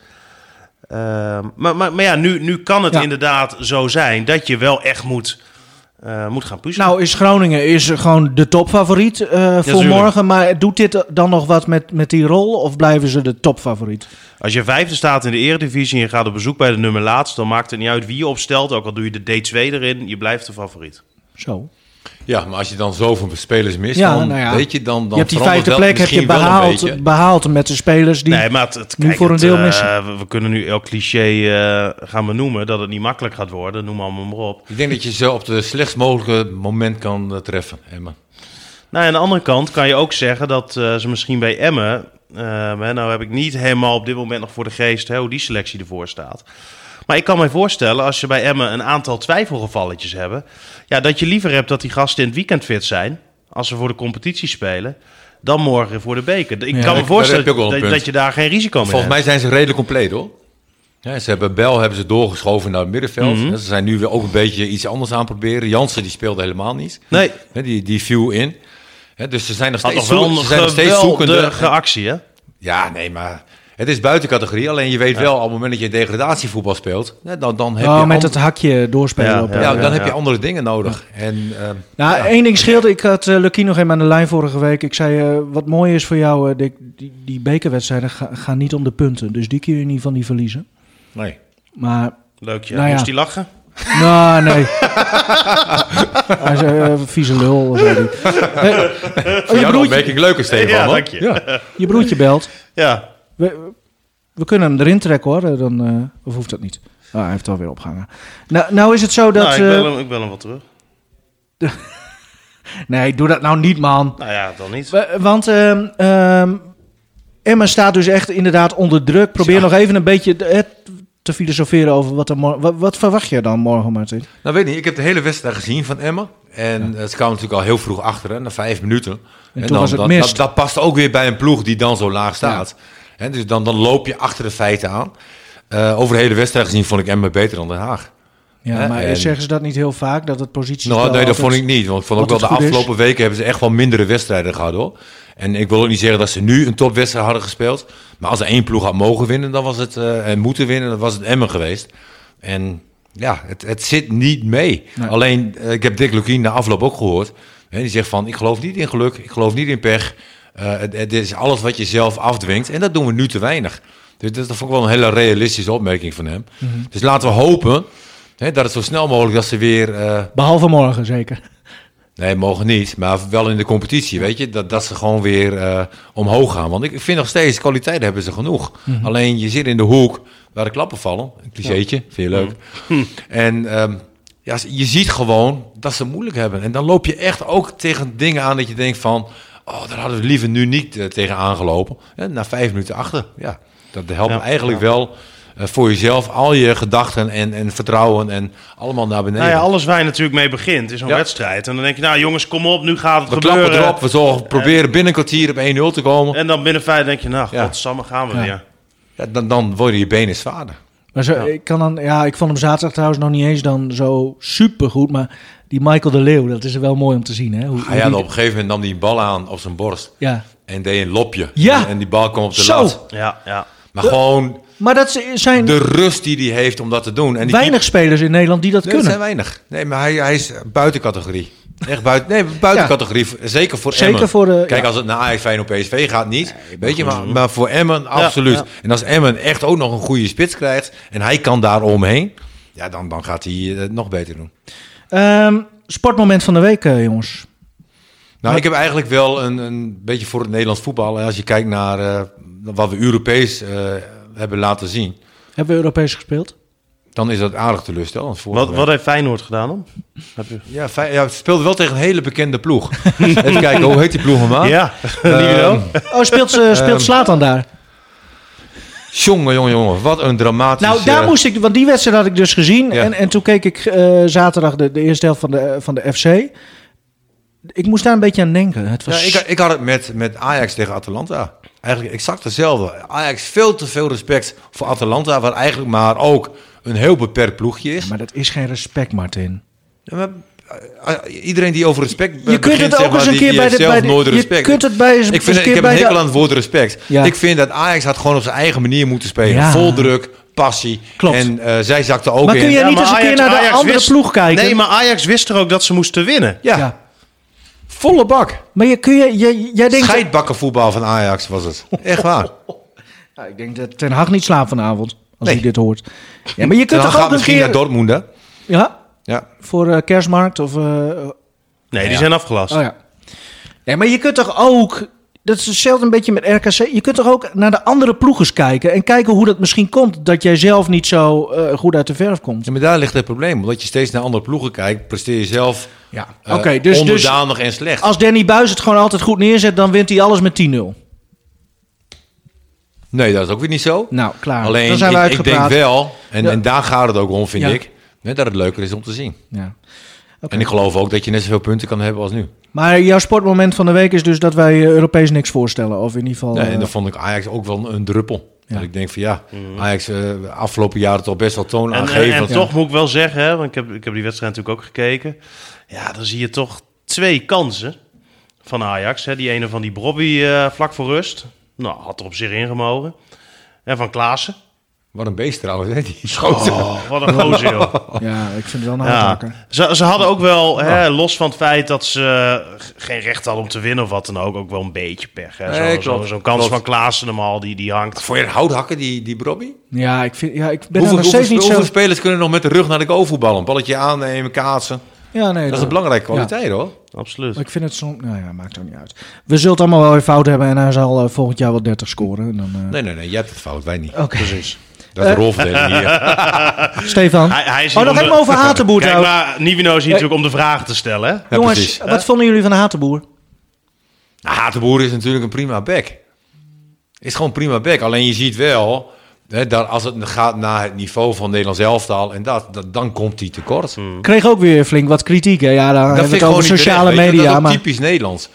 Speaker 2: Ehm, maar, maar, maar ja, nu, nu kan het
Speaker 5: Ja.
Speaker 2: inderdaad zo zijn dat je wel echt moet, eh, moet gaan puzzelen.
Speaker 3: Nou, is Groningen is gewoon de topfavoriet eh, voor
Speaker 2: tuurlijk.
Speaker 3: morgen. Maar doet dit dan nog wat met, met die rol? Of blijven ze de topfavoriet?
Speaker 2: Als je vijfde staat in de eredivisie en je gaat op bezoek bij de nummer laatst... dan maakt het niet uit wie je opstelt. Ook al doe je de D2 erin, je blijft de favoriet.
Speaker 5: zo.
Speaker 4: Ja, maar als je dan zoveel spelers mist,
Speaker 5: Ja,
Speaker 4: dan,
Speaker 5: nou ja.
Speaker 4: weet je, dan, dan
Speaker 3: je hebt die
Speaker 4: verandert
Speaker 3: vijfde
Speaker 4: dat
Speaker 3: plek heb je
Speaker 4: misschien wel een beetje.
Speaker 3: behaald, behaald met de spelers die...
Speaker 2: nee, maar het, het-
Speaker 3: nu
Speaker 2: kijk,
Speaker 3: voor een
Speaker 2: het,
Speaker 3: deel
Speaker 2: eh,
Speaker 3: missen.
Speaker 2: we, we kunnen nu elk cliché eh, gaan benoemen dat het niet makkelijk gaat worden. Noem allemaal maar op.
Speaker 4: Ik denk dat je ze op het slechtst mogelijke moment kan eh, treffen, Emma.
Speaker 2: Nou, aan de andere kant kan je ook zeggen dat eh, ze misschien bij Emmen... ehm, hè, nou heb ik niet helemaal op dit moment nog voor de geest hè, hoe die selectie ervoor staat. Maar ik kan mij voorstellen, als je bij Emmen een aantal twijfelgevalletjes hebben... Ja, dat je liever hebt dat die gasten in het weekend fit zijn... als ze voor de competitie spelen, dan morgen voor de beker. Ik kan me
Speaker 4: daar
Speaker 2: voorstellen
Speaker 4: heb je ook wel een
Speaker 2: dat,
Speaker 4: punt.
Speaker 2: dat je daar geen risico mee hebt.
Speaker 4: Volgens mij zijn ze redelijk compleet hoor. Ja, ze hebben Bel hebben ze doorgeschoven naar het middenveld.
Speaker 3: Mhm.
Speaker 4: Ja, Ze zijn nu weer ook een beetje iets anders aan het proberen. Jansen die speelde helemaal niet.
Speaker 2: Nee,
Speaker 4: Hè, die, die viel in. Hè, dus ze zijn nog
Speaker 2: had
Speaker 4: steeds,
Speaker 2: nog wel
Speaker 4: zoek-
Speaker 2: een
Speaker 4: ze zijn nog steeds zoekende.
Speaker 2: geweldige actie, hè?
Speaker 4: Ja, nee, maar het is buiten categorie. Alleen je weet wel, op het moment dat je degradatievoetbal speelt, hè, dan, dan heb je
Speaker 5: Oh, met
Speaker 4: an-
Speaker 5: het hakje doorspelen.
Speaker 2: Ja,
Speaker 5: op,
Speaker 4: ja,
Speaker 5: eh,
Speaker 4: dan
Speaker 2: ja,
Speaker 4: heb je
Speaker 2: ja.
Speaker 4: andere dingen nodig. En ehm,
Speaker 3: Nou, één ding scheelt. Ik had eh Lucky nog even aan de lijn vorige week. Ik zei, eh, wat mooi is voor jou, eh, Dick, die, die bekerwedstrijden ga- gaan niet om de punten. Dus die kun je niet van die verliezen.
Speaker 4: nee.
Speaker 3: Maar,
Speaker 2: Leuk, ja.
Speaker 5: Nou ja.
Speaker 2: Moest die lachen?
Speaker 3: nou nee. Hij zei, eh, vieze lul. Of zo. Eh, oh, je,
Speaker 4: Jouw
Speaker 3: broertje,
Speaker 4: opmerking leuker, Stefan.
Speaker 2: Ja,
Speaker 4: hoor.
Speaker 2: dank je.
Speaker 4: Ja.
Speaker 3: je broertje belt.
Speaker 2: Ja.
Speaker 3: We, we kunnen hem erin trekken hoor, Eh, dan, eh, of hoeft dat niet. Ah, hij heeft het alweer opgehangen. Nou, nou is het zo dat...
Speaker 2: nou, ik bel,
Speaker 3: eh,
Speaker 2: hem, ik bel hem wel terug.
Speaker 3: nee, doe dat nou niet man.
Speaker 2: Nou ja, dan niet.
Speaker 3: Wa- Want ehm, ehm, Emma staat dus echt inderdaad onder druk. Probeer nog even een beetje eh, te filosoferen over wat er morgen... Wat, wat verwacht je dan morgen, Martin?
Speaker 4: Nou, weet niet. Ik heb de hele wedstrijd gezien van Emma. En het kwam natuurlijk al heel vroeg achter, hè, na vijf minuten. En,
Speaker 3: toen
Speaker 4: dan,
Speaker 3: was het
Speaker 4: dat,
Speaker 3: mist.
Speaker 4: Dat, dat past ook weer bij een ploeg die dan zo laag staat. Hè, dus dan, dan loop je achter de feiten aan. Eh, over de hele wedstrijd gezien vond ik Emma beter dan Den Haag.
Speaker 3: Ja,
Speaker 4: Eh,
Speaker 3: maar
Speaker 4: en-
Speaker 3: zeggen ze dat niet heel vaak, dat het positie...
Speaker 4: Nou, nee, dat vond ik niet. Want ik vond ook wel
Speaker 3: altijd
Speaker 4: de
Speaker 3: goed is.
Speaker 4: afgelopen weken hebben ze echt wel mindere wedstrijden gehad hoor. En ik wil ook niet zeggen dat ze nu een topwedstrijd hadden gespeeld. Maar als er één ploeg had mogen winnen, dan was het eh, en moeten winnen, dan was het Emmen geweest. En ja, het, het zit niet mee. Alleen, eh, ik heb Dick Lukien na afloop ook gehoord. Hè, die zegt van, ik geloof niet in geluk, ik geloof niet in pech. Eh, het, het is alles wat je zelf afdwingt. En dat doen we nu te weinig. Dus dat vond ik wel een hele realistische opmerking van hem.
Speaker 3: Mhm.
Speaker 4: Dus laten we hopen hè, dat het zo snel mogelijk dat ze weer... eh,
Speaker 3: Behalve morgen zeker.
Speaker 4: Nee, mogen niet. Maar wel in de competitie, weet je. Dat, dat ze gewoon weer eh, omhoog gaan. Want ik ik vind nog steeds, kwaliteit hebben ze genoeg.
Speaker 2: Mhm.
Speaker 4: Alleen je zit in de hoek waar de klappen vallen. Een clichétje, vind je leuk.
Speaker 2: Mhm. *laughs*
Speaker 4: En ehm, ja, je ziet gewoon dat ze het moeilijk hebben. En dan loop je echt ook tegen dingen aan dat je denkt van... Oh, daar hadden we liever nu niet eh, tegen aangelopen. En na vijf minuten achter, ja. Dat helpt
Speaker 2: Ja.
Speaker 4: eigenlijk wel eh, voor jezelf. Al je gedachten en, en vertrouwen en allemaal naar beneden.
Speaker 2: Nou ja, alles waar je natuurlijk mee begint is een
Speaker 4: Ja.
Speaker 2: wedstrijd. En dan denk je, nou jongens, kom op, nu gaat het
Speaker 4: We klappen
Speaker 2: gebeuren.
Speaker 4: erop, we zorgen, proberen binnen een kwartier op 1-0 te komen.
Speaker 2: En dan binnen vijf denk je, nou,
Speaker 4: Ja.
Speaker 2: godsamme, gaan we
Speaker 5: Ja.
Speaker 2: weer.
Speaker 4: Ja, dan, dan worden je benen zwaarder.
Speaker 3: Maar zo, ik, kan dan, ja, ik vond hem zaterdag trouwens nog niet eens dan zo supergoed. Maar die Michael de Leeuw, dat is wel mooi om te zien. Hè? Hoe,
Speaker 4: Hij
Speaker 3: hoe
Speaker 4: had
Speaker 3: die-
Speaker 4: Ah, op een gegeven moment nam hij een bal aan op zijn borst
Speaker 3: ja.
Speaker 4: en deed een lopje.
Speaker 3: Ja.
Speaker 4: En, en die bal kwam op de
Speaker 3: Zo.
Speaker 4: lat.
Speaker 2: Ja, ja.
Speaker 4: Maar gewoon
Speaker 3: Maar dat zijn
Speaker 4: de rust die hij heeft om dat te doen. En die
Speaker 3: weinig spelers in Nederland die dat
Speaker 4: keeper- Nee, dat
Speaker 3: kunnen.
Speaker 4: zijn weinig. Nee, maar hij, hij is buiten categorie. Echt buiten, nee, buiten
Speaker 3: Ja.
Speaker 4: categorie. Zeker voor
Speaker 3: Zeker
Speaker 4: Emmen.
Speaker 3: voor de-
Speaker 4: Kijk,
Speaker 3: ja.
Speaker 4: als het naar Ajax, Feyenoord, PSV gaat niet. weet je, maar, maar voor Emmen absoluut.
Speaker 2: ja.
Speaker 4: En als Emmen echt ook nog een goede spits krijgt en hij kan daar omheen. Ja, dan, dan gaat hij eh, het nog beter doen.
Speaker 3: Ehm, sportmoment van de week, eh, jongens.
Speaker 4: Nou, ik heb eigenlijk wel een, een beetje voor het Nederlands voetbal. En als je kijkt naar eh, wat we Europees eh, hebben laten zien,
Speaker 5: Hebben we Europees
Speaker 4: *laughs*
Speaker 5: gespeeld?
Speaker 4: dan is dat aardig teleurstel. Want vorige
Speaker 2: Wat,
Speaker 4: week-
Speaker 2: wat heeft Feyenoord gedaan dan? Heb je...
Speaker 4: Ja, Fey- ja, het speelde wel tegen een hele bekende
Speaker 2: *laughs*
Speaker 4: ploeg. Even kijken, hoe heet die ploeg allemaal? *laughs*
Speaker 2: Ja,
Speaker 4: Ehm,
Speaker 3: Oh, speelt, eh, speelt Slatan daar?
Speaker 4: Jongen, jongen, jongen, wat een dramatisch...
Speaker 3: Nou, daar
Speaker 4: eh,
Speaker 3: moest ik, want die wedstrijd had ik dus gezien.
Speaker 4: Ja.
Speaker 3: En, en toen keek ik eh, zaterdag de, de eerste helft van de, eh, van de FC. Ik moest daar een beetje aan denken. Het
Speaker 4: Ja,
Speaker 3: was
Speaker 4: ik, ik had het met, met Ajax tegen Atalanta. Eigenlijk exact hetzelfde. Ajax veel te veel respect voor Atalanta, wat eigenlijk maar ook een heel beperkt ploegje is.
Speaker 3: Maar dat is geen respect, Martin.
Speaker 4: Ja, maar, eh, eh, iedereen die over respect be-
Speaker 3: Je kunt
Speaker 4: begint,
Speaker 3: het
Speaker 4: zeg
Speaker 3: ook
Speaker 4: maar,
Speaker 3: eens een
Speaker 4: die-
Speaker 3: keer
Speaker 4: die
Speaker 3: bij de-
Speaker 4: heeft
Speaker 3: bij
Speaker 4: zelf
Speaker 3: de-
Speaker 4: nooit
Speaker 3: je
Speaker 4: respect.
Speaker 3: kunt het bij eens-
Speaker 4: ik,
Speaker 3: eens
Speaker 4: vind, ik
Speaker 3: keer
Speaker 4: heb
Speaker 3: bij
Speaker 4: een
Speaker 3: de-
Speaker 4: hekel aan het woord respect.
Speaker 3: Ja.
Speaker 4: Ik vind dat Ajax had gewoon op zijn eigen manier moeten spelen.
Speaker 3: Ja.
Speaker 4: Vol druk, passie.
Speaker 3: Klopt.
Speaker 4: En eh, zij zakte ook
Speaker 3: Maar
Speaker 4: in.
Speaker 3: kun je-
Speaker 4: Ja,
Speaker 3: niet eens een keer naar de andere
Speaker 2: wist-
Speaker 3: ploeg kijken?
Speaker 2: Nee, maar Ajax wist er ook dat ze moesten winnen.
Speaker 4: volle bak.
Speaker 3: Maar je, kun je, je, jij denkt...
Speaker 4: Scheidbakkenvoetbal van Ajax was
Speaker 3: *laughs*
Speaker 4: het. Echt waar.
Speaker 3: Ja, ik denk dat Ten Hag niet slaapt vanavond, als
Speaker 4: Nee.
Speaker 3: hij dit hoort. Ja, maar je kunt
Speaker 4: Dan
Speaker 3: toch
Speaker 4: gaat
Speaker 3: ook een
Speaker 4: misschien naar
Speaker 3: keer...
Speaker 4: Dortmund, hè?
Speaker 3: Ja,
Speaker 4: Ja.
Speaker 3: voor eh, kerstmarkt of... eh, oh
Speaker 2: Nee, die
Speaker 4: Ja.
Speaker 2: zijn afgelast.
Speaker 3: ja. Nee, maar je kunt toch ook... Dat is hetzelfde een beetje met RKC. Je kunt toch ook naar de andere ploegers kijken... en kijken hoe dat misschien komt... dat jij zelf niet zo eh, goed uit de verf komt.
Speaker 4: Ja, maar daar ligt het probleem. Omdat je steeds naar andere ploegen kijkt, presteer je zelf
Speaker 3: Ja,
Speaker 4: eh,
Speaker 3: oké. dus, dus
Speaker 4: onderdanig en slecht.
Speaker 3: als Danny Buis het gewoon altijd goed neerzet... dan wint hij alles met 10-0.
Speaker 4: Nee, dat is ook weer niet zo.
Speaker 3: Nou, klaar.
Speaker 4: Alleen,
Speaker 3: dan zijn we
Speaker 4: ik, ik
Speaker 3: uitgepraat.
Speaker 4: denk wel, en,
Speaker 3: Ja.
Speaker 4: en daar gaat het ook om, vind
Speaker 3: Ja.
Speaker 4: ik, net dat het leuker is om te zien.
Speaker 3: Ja. Oké.
Speaker 4: En ik geloof ook dat je net zoveel punten kan hebben als nu.
Speaker 3: Maar jouw sportmoment van de week is dus dat wij eh, Europees niks voorstellen. Of in ieder geval...
Speaker 4: Nee, en
Speaker 3: eh,
Speaker 4: dan vond ik Ajax ook wel een, een druppel. Dat ik denk van ja, Ajax eh afgelopen jaren toch best wel toon
Speaker 2: Mhm. En, eh,
Speaker 4: aangegeven.
Speaker 2: en, en toch moet ik wel zeggen, hè, want ik heb, ik heb die wedstrijd natuurlijk ook gekeken. Ja, dan zie je toch twee kansen van Ajax. Hè. Die ene van die Brobby eh, vlak voor rust. Nou, had er op zich ingemogen. En van Klaassen.
Speaker 4: Wat een beest trouwens, hè, die schoten.
Speaker 2: Oh, wat een gozer, joh.
Speaker 3: Ja, ik vind het wel een
Speaker 2: Ja,
Speaker 3: hardhakker.
Speaker 2: ze, ze hadden ook wel, hè, los van het feit dat ze eh, g- geen recht hadden om te winnen of wat dan ook, ook wel een beetje pech. hè. Zo-
Speaker 4: Nee,
Speaker 2: zo- Zo'n
Speaker 4: klopt,
Speaker 2: kans
Speaker 4: klopt.
Speaker 2: van Klaassen hem al, die, die hangt.
Speaker 4: Voor je het houthakken, die, die Brobby?
Speaker 3: Ja, ik, vind, ja, ik ben er
Speaker 4: Hoeveel,
Speaker 3: nog
Speaker 4: hoeveel,
Speaker 3: steeds niet zo...
Speaker 4: hoeveel spelers kunnen nog met de rug naar de goal voetballen? Een balletje aannemen, kaatsen.
Speaker 3: Ja, nee,
Speaker 4: Dat is een belangrijke kwaliteit hoor.
Speaker 2: Absoluut.
Speaker 3: Maar ik vind het soms... Nou ja, maakt ook niet uit. We zullen het allemaal wel weer fout hebben en hij zal eh, volgend jaar wel 30 scoren. En dan, eh,
Speaker 4: Nee, nee, nee, jij hebt het fout, wij niet.
Speaker 3: Oké,
Speaker 4: Dat
Speaker 3: Eh.
Speaker 4: is de rolverdeling
Speaker 3: *laughs*
Speaker 4: hier.
Speaker 3: Stefan.
Speaker 2: Hij- hij
Speaker 3: oh,
Speaker 2: is hier
Speaker 3: nog
Speaker 2: om de-
Speaker 3: even
Speaker 2: *laughs*
Speaker 3: over Hatenboer
Speaker 2: Kijk,
Speaker 3: trouwens.
Speaker 2: maar Nivino is hier natuurlijk om de vragen te stellen. hè.
Speaker 4: Ja,
Speaker 3: Jongens,
Speaker 4: precies.
Speaker 3: wat vonden jullie van Hatenboer?
Speaker 4: Nou, Hatenboer is natuurlijk een prima back. Is gewoon prima back. Alleen je ziet wel, hè, dat als het gaat naar het niveau van Nederlands elftal en dat, dat dan komt hij tekort.
Speaker 2: Hmm.
Speaker 3: Kreeg ook weer flink wat kritiek. Hè? Ja, dan
Speaker 4: Hm. Dat
Speaker 3: hebben we
Speaker 4: vind
Speaker 3: het
Speaker 4: ik gewoon
Speaker 3: over
Speaker 4: niet
Speaker 3: sociale
Speaker 4: terecht, weet je. Dat is
Speaker 3: media.
Speaker 4: ook
Speaker 3: Maar
Speaker 4: typisch Nederlands.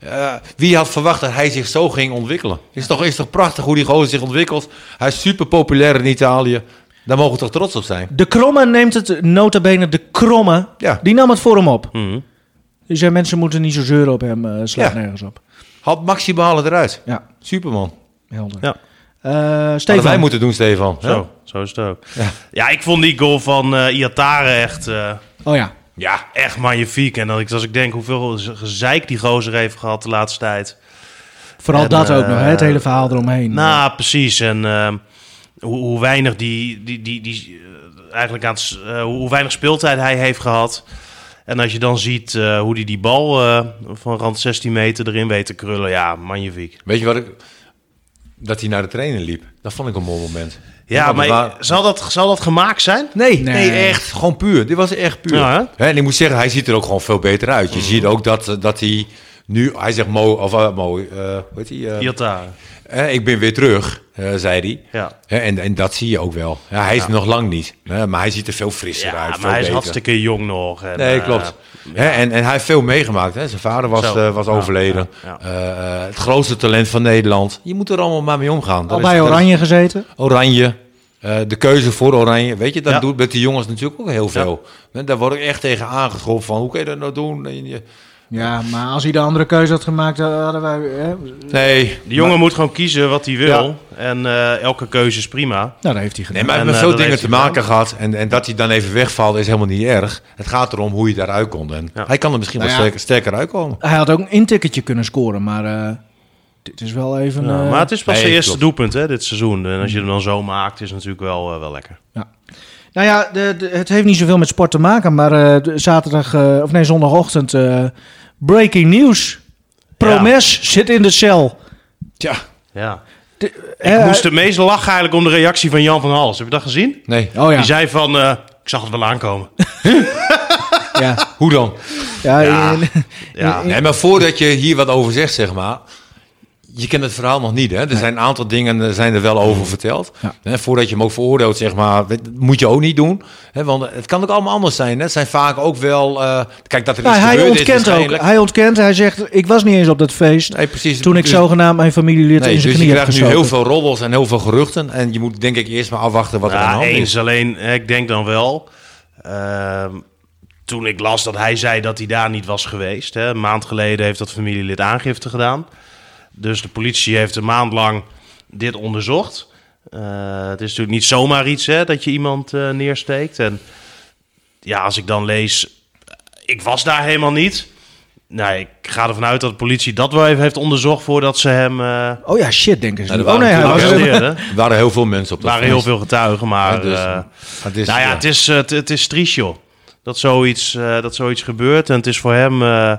Speaker 4: Eh, wie had verwacht dat hij zich zo ging ontwikkelen? Is toch, is toch prachtig hoe die gozer zich ontwikkelt? Hij is super populair in Italië. Daar mogen we toch trots op zijn?
Speaker 3: de Kromme neemt het, nota bene de Kromme,
Speaker 4: Ja.
Speaker 3: die nam het voor hem op.
Speaker 2: Mhm.
Speaker 3: Dus ja, mensen moeten niet zo zeuren op hem, eh slaat
Speaker 4: Ja.
Speaker 3: nergens op.
Speaker 4: Had maximale eruit.
Speaker 3: Ja,
Speaker 4: Superman.
Speaker 3: helder.
Speaker 2: Ja.
Speaker 3: Eh, Stefan.
Speaker 4: Wat wij moeten doen, Stefan. hè?
Speaker 2: Zo, zo is het ook. Ja. ik vond die goal van eh Iatare echt, eh,
Speaker 3: Oh ja.
Speaker 4: Ja,
Speaker 2: echt magnifiek. En dat ik, als ik denk hoeveel gezeik die gozer heeft gehad de laatste tijd.
Speaker 3: Vooral
Speaker 2: En,
Speaker 3: dat ook nog, hè? het
Speaker 2: eh,
Speaker 3: hele verhaal eromheen.
Speaker 2: Nou, precies. En ehm, hoe, hoe weinig die, die, die, die eh, eigenlijk aan het, s- eh, hoe weinig speeltijd hij heeft gehad. En als je dan ziet eh, hoe hij die bal eh, van rand 16 meter erin weet te krullen, ja, magnifiek.
Speaker 4: Weet je wat ik... Dat hij naar de trainer liep. Dat vond ik een mooi moment.
Speaker 2: Ja,
Speaker 4: Dat
Speaker 2: maar
Speaker 4: wa-
Speaker 2: zal, dat, zal dat gemaakt zijn?
Speaker 4: Nee, nee,
Speaker 3: Nee.
Speaker 4: echt. Gewoon puur. Dit was echt puur.
Speaker 2: Ja, Mhm.
Speaker 4: Hè, en ik moet zeggen, hij ziet er ook gewoon veel beter uit. Je ziet ook dat, eh, dat hij nu... Hij zegt Mo... Of eh, Mo... eh, hoe heet hij? eh,
Speaker 2: Iatare.
Speaker 4: eh, ik ben weer terug, eh, zei hij.
Speaker 2: Ja.
Speaker 4: Hè, en, en dat zie je ook wel. Ja, hij is nog lang niet. hè, maar hij ziet er veel frisser
Speaker 2: Ja,
Speaker 4: uit.
Speaker 2: maar
Speaker 4: veel
Speaker 2: hij is
Speaker 4: beter.
Speaker 2: hartstikke jong nog. En,
Speaker 4: Nee,
Speaker 2: eh,
Speaker 4: klopt. Hè, en, en hij heeft veel meegemaakt. Hè? Zijn vader was,
Speaker 2: Zo.
Speaker 4: eh, was
Speaker 2: Ja,
Speaker 4: overleden.
Speaker 2: ja, ja.
Speaker 4: Eh, eh, het grootste talent van Nederland. Je moet er allemaal maar mee omgaan.
Speaker 3: al
Speaker 4: Dat is-
Speaker 3: bij
Speaker 4: dat is-
Speaker 3: Oranje gezeten.
Speaker 4: Oranje. eh, de keuze voor Oranje. Weet je, dat
Speaker 2: Ja.
Speaker 4: doet met die jongens natuurlijk ook heel veel. Hè, Daar word ik echt tegen aangeschopt van. Hoe kun je dat nou doen? En je-
Speaker 3: Ja, maar als hij de andere keuze had gemaakt, eh, hadden wij... Hè? Nou,
Speaker 4: Nee.
Speaker 2: De jongen moet gewoon kiezen wat hij wil. En eh, elke keuze is prima.
Speaker 3: dat heeft hij
Speaker 4: Nee,
Speaker 3: gedaan.
Speaker 4: maar we
Speaker 2: En,
Speaker 4: hebben
Speaker 2: eh,
Speaker 4: veel
Speaker 2: dat
Speaker 4: dingen
Speaker 2: heeft
Speaker 4: te
Speaker 2: hij
Speaker 4: maken gehad. En, en dat hij dan even wegvalt is helemaal niet erg. Het gaat erom hoe je daaruit komt. En
Speaker 2: Ja.
Speaker 4: hij kan er misschien
Speaker 3: Nou
Speaker 4: wel
Speaker 3: ja.
Speaker 4: sterker, sterker uitkomen.
Speaker 3: Hij had ook een inticketje kunnen scoren, maar eh, dit is wel even...
Speaker 2: Ja,
Speaker 3: eh,
Speaker 2: Nou, maar het is pas
Speaker 4: nee,
Speaker 2: zijn eerste
Speaker 4: klopt.
Speaker 2: doelpunt hè, dit seizoen. En als je hem dan zo maakt, is het natuurlijk wel, eh, wel lekker.
Speaker 3: Nou ja, de, de- het heeft niet zoveel met sport te maken, maar eh, de- zaterdag, eh, of nee, zondagochtend, eh, breaking news. Promes zit in de cel.
Speaker 4: Tja,
Speaker 2: Ja. Ik
Speaker 3: Eh,
Speaker 2: moest het meest lachen eigenlijk om de reactie van Jan van Hals. Heb je dat gezien?
Speaker 4: Nee.
Speaker 5: Oh ja.
Speaker 2: Die zei van, eh, ik zag het wel aankomen.
Speaker 5: ja.
Speaker 4: Hoe dan?
Speaker 3: Ja,
Speaker 2: Ja.
Speaker 3: in-
Speaker 2: Ja,
Speaker 4: Nee, maar voordat je hier wat over zegt, zeg maar. Je kent het verhaal nog niet, hè? Er zijn een aantal dingen eh, zijn er wel over verteld.
Speaker 5: Ja.
Speaker 4: Hè, voordat je hem ook veroordeelt, zeg maar, dat moet je ook niet doen. Hè, want het kan ook allemaal anders zijn. Hè? Het zijn vaak ook wel... eh, kijk, dat er
Speaker 3: Nou,
Speaker 4: iets
Speaker 3: hij
Speaker 4: gebeurd is
Speaker 3: ontkent ook.
Speaker 4: waarschijnlijk.
Speaker 3: Hij ontkent, hij zegt, ik was niet eens op dat feest
Speaker 4: Nee, precies.
Speaker 3: toen ik
Speaker 4: Dus-
Speaker 3: zogenaamd mijn familielid
Speaker 4: Nee,
Speaker 3: in
Speaker 4: dus
Speaker 3: zijn
Speaker 4: je
Speaker 3: knie heb
Speaker 4: krijgt nu
Speaker 3: gestoken.
Speaker 4: heel veel robbels en heel veel geruchten. En je moet denk ik eerst maar afwachten wat er aan de
Speaker 2: ja
Speaker 4: hand is.
Speaker 2: eens. Alleen, eh, ik denk dan wel... ehm, toen ik las dat hij zei dat hij daar niet was geweest. Hè, een maand geleden heeft dat familielid aangifte gedaan. Dus de politie heeft een maand lang dit onderzocht. Eh, het is natuurlijk niet zomaar iets hè, dat je iemand eh, neersteekt. En ja, als ik dan lees, ik was daar helemaal niet. Nou, ik ga ervan uit dat de politie dat wel even heeft onderzocht voordat ze hem eh
Speaker 3: Oh ja, shit, denken ze.
Speaker 4: Ja, Nou, er
Speaker 3: oh
Speaker 4: waren
Speaker 3: nee, hij was
Speaker 4: natuurlijk
Speaker 3: er.
Speaker 4: ook-
Speaker 2: arresteerden. Er
Speaker 4: *laughs* Er waren heel veel mensen op dat
Speaker 2: waren
Speaker 4: feest.
Speaker 2: heel veel getuigen, maar...
Speaker 4: Ja, dus,
Speaker 2: eh,
Speaker 4: het is,
Speaker 2: nou ja, het is, eh, het, het is triest, joh. Dat zoiets, eh, dat zoiets gebeurt. En het is voor hem eh,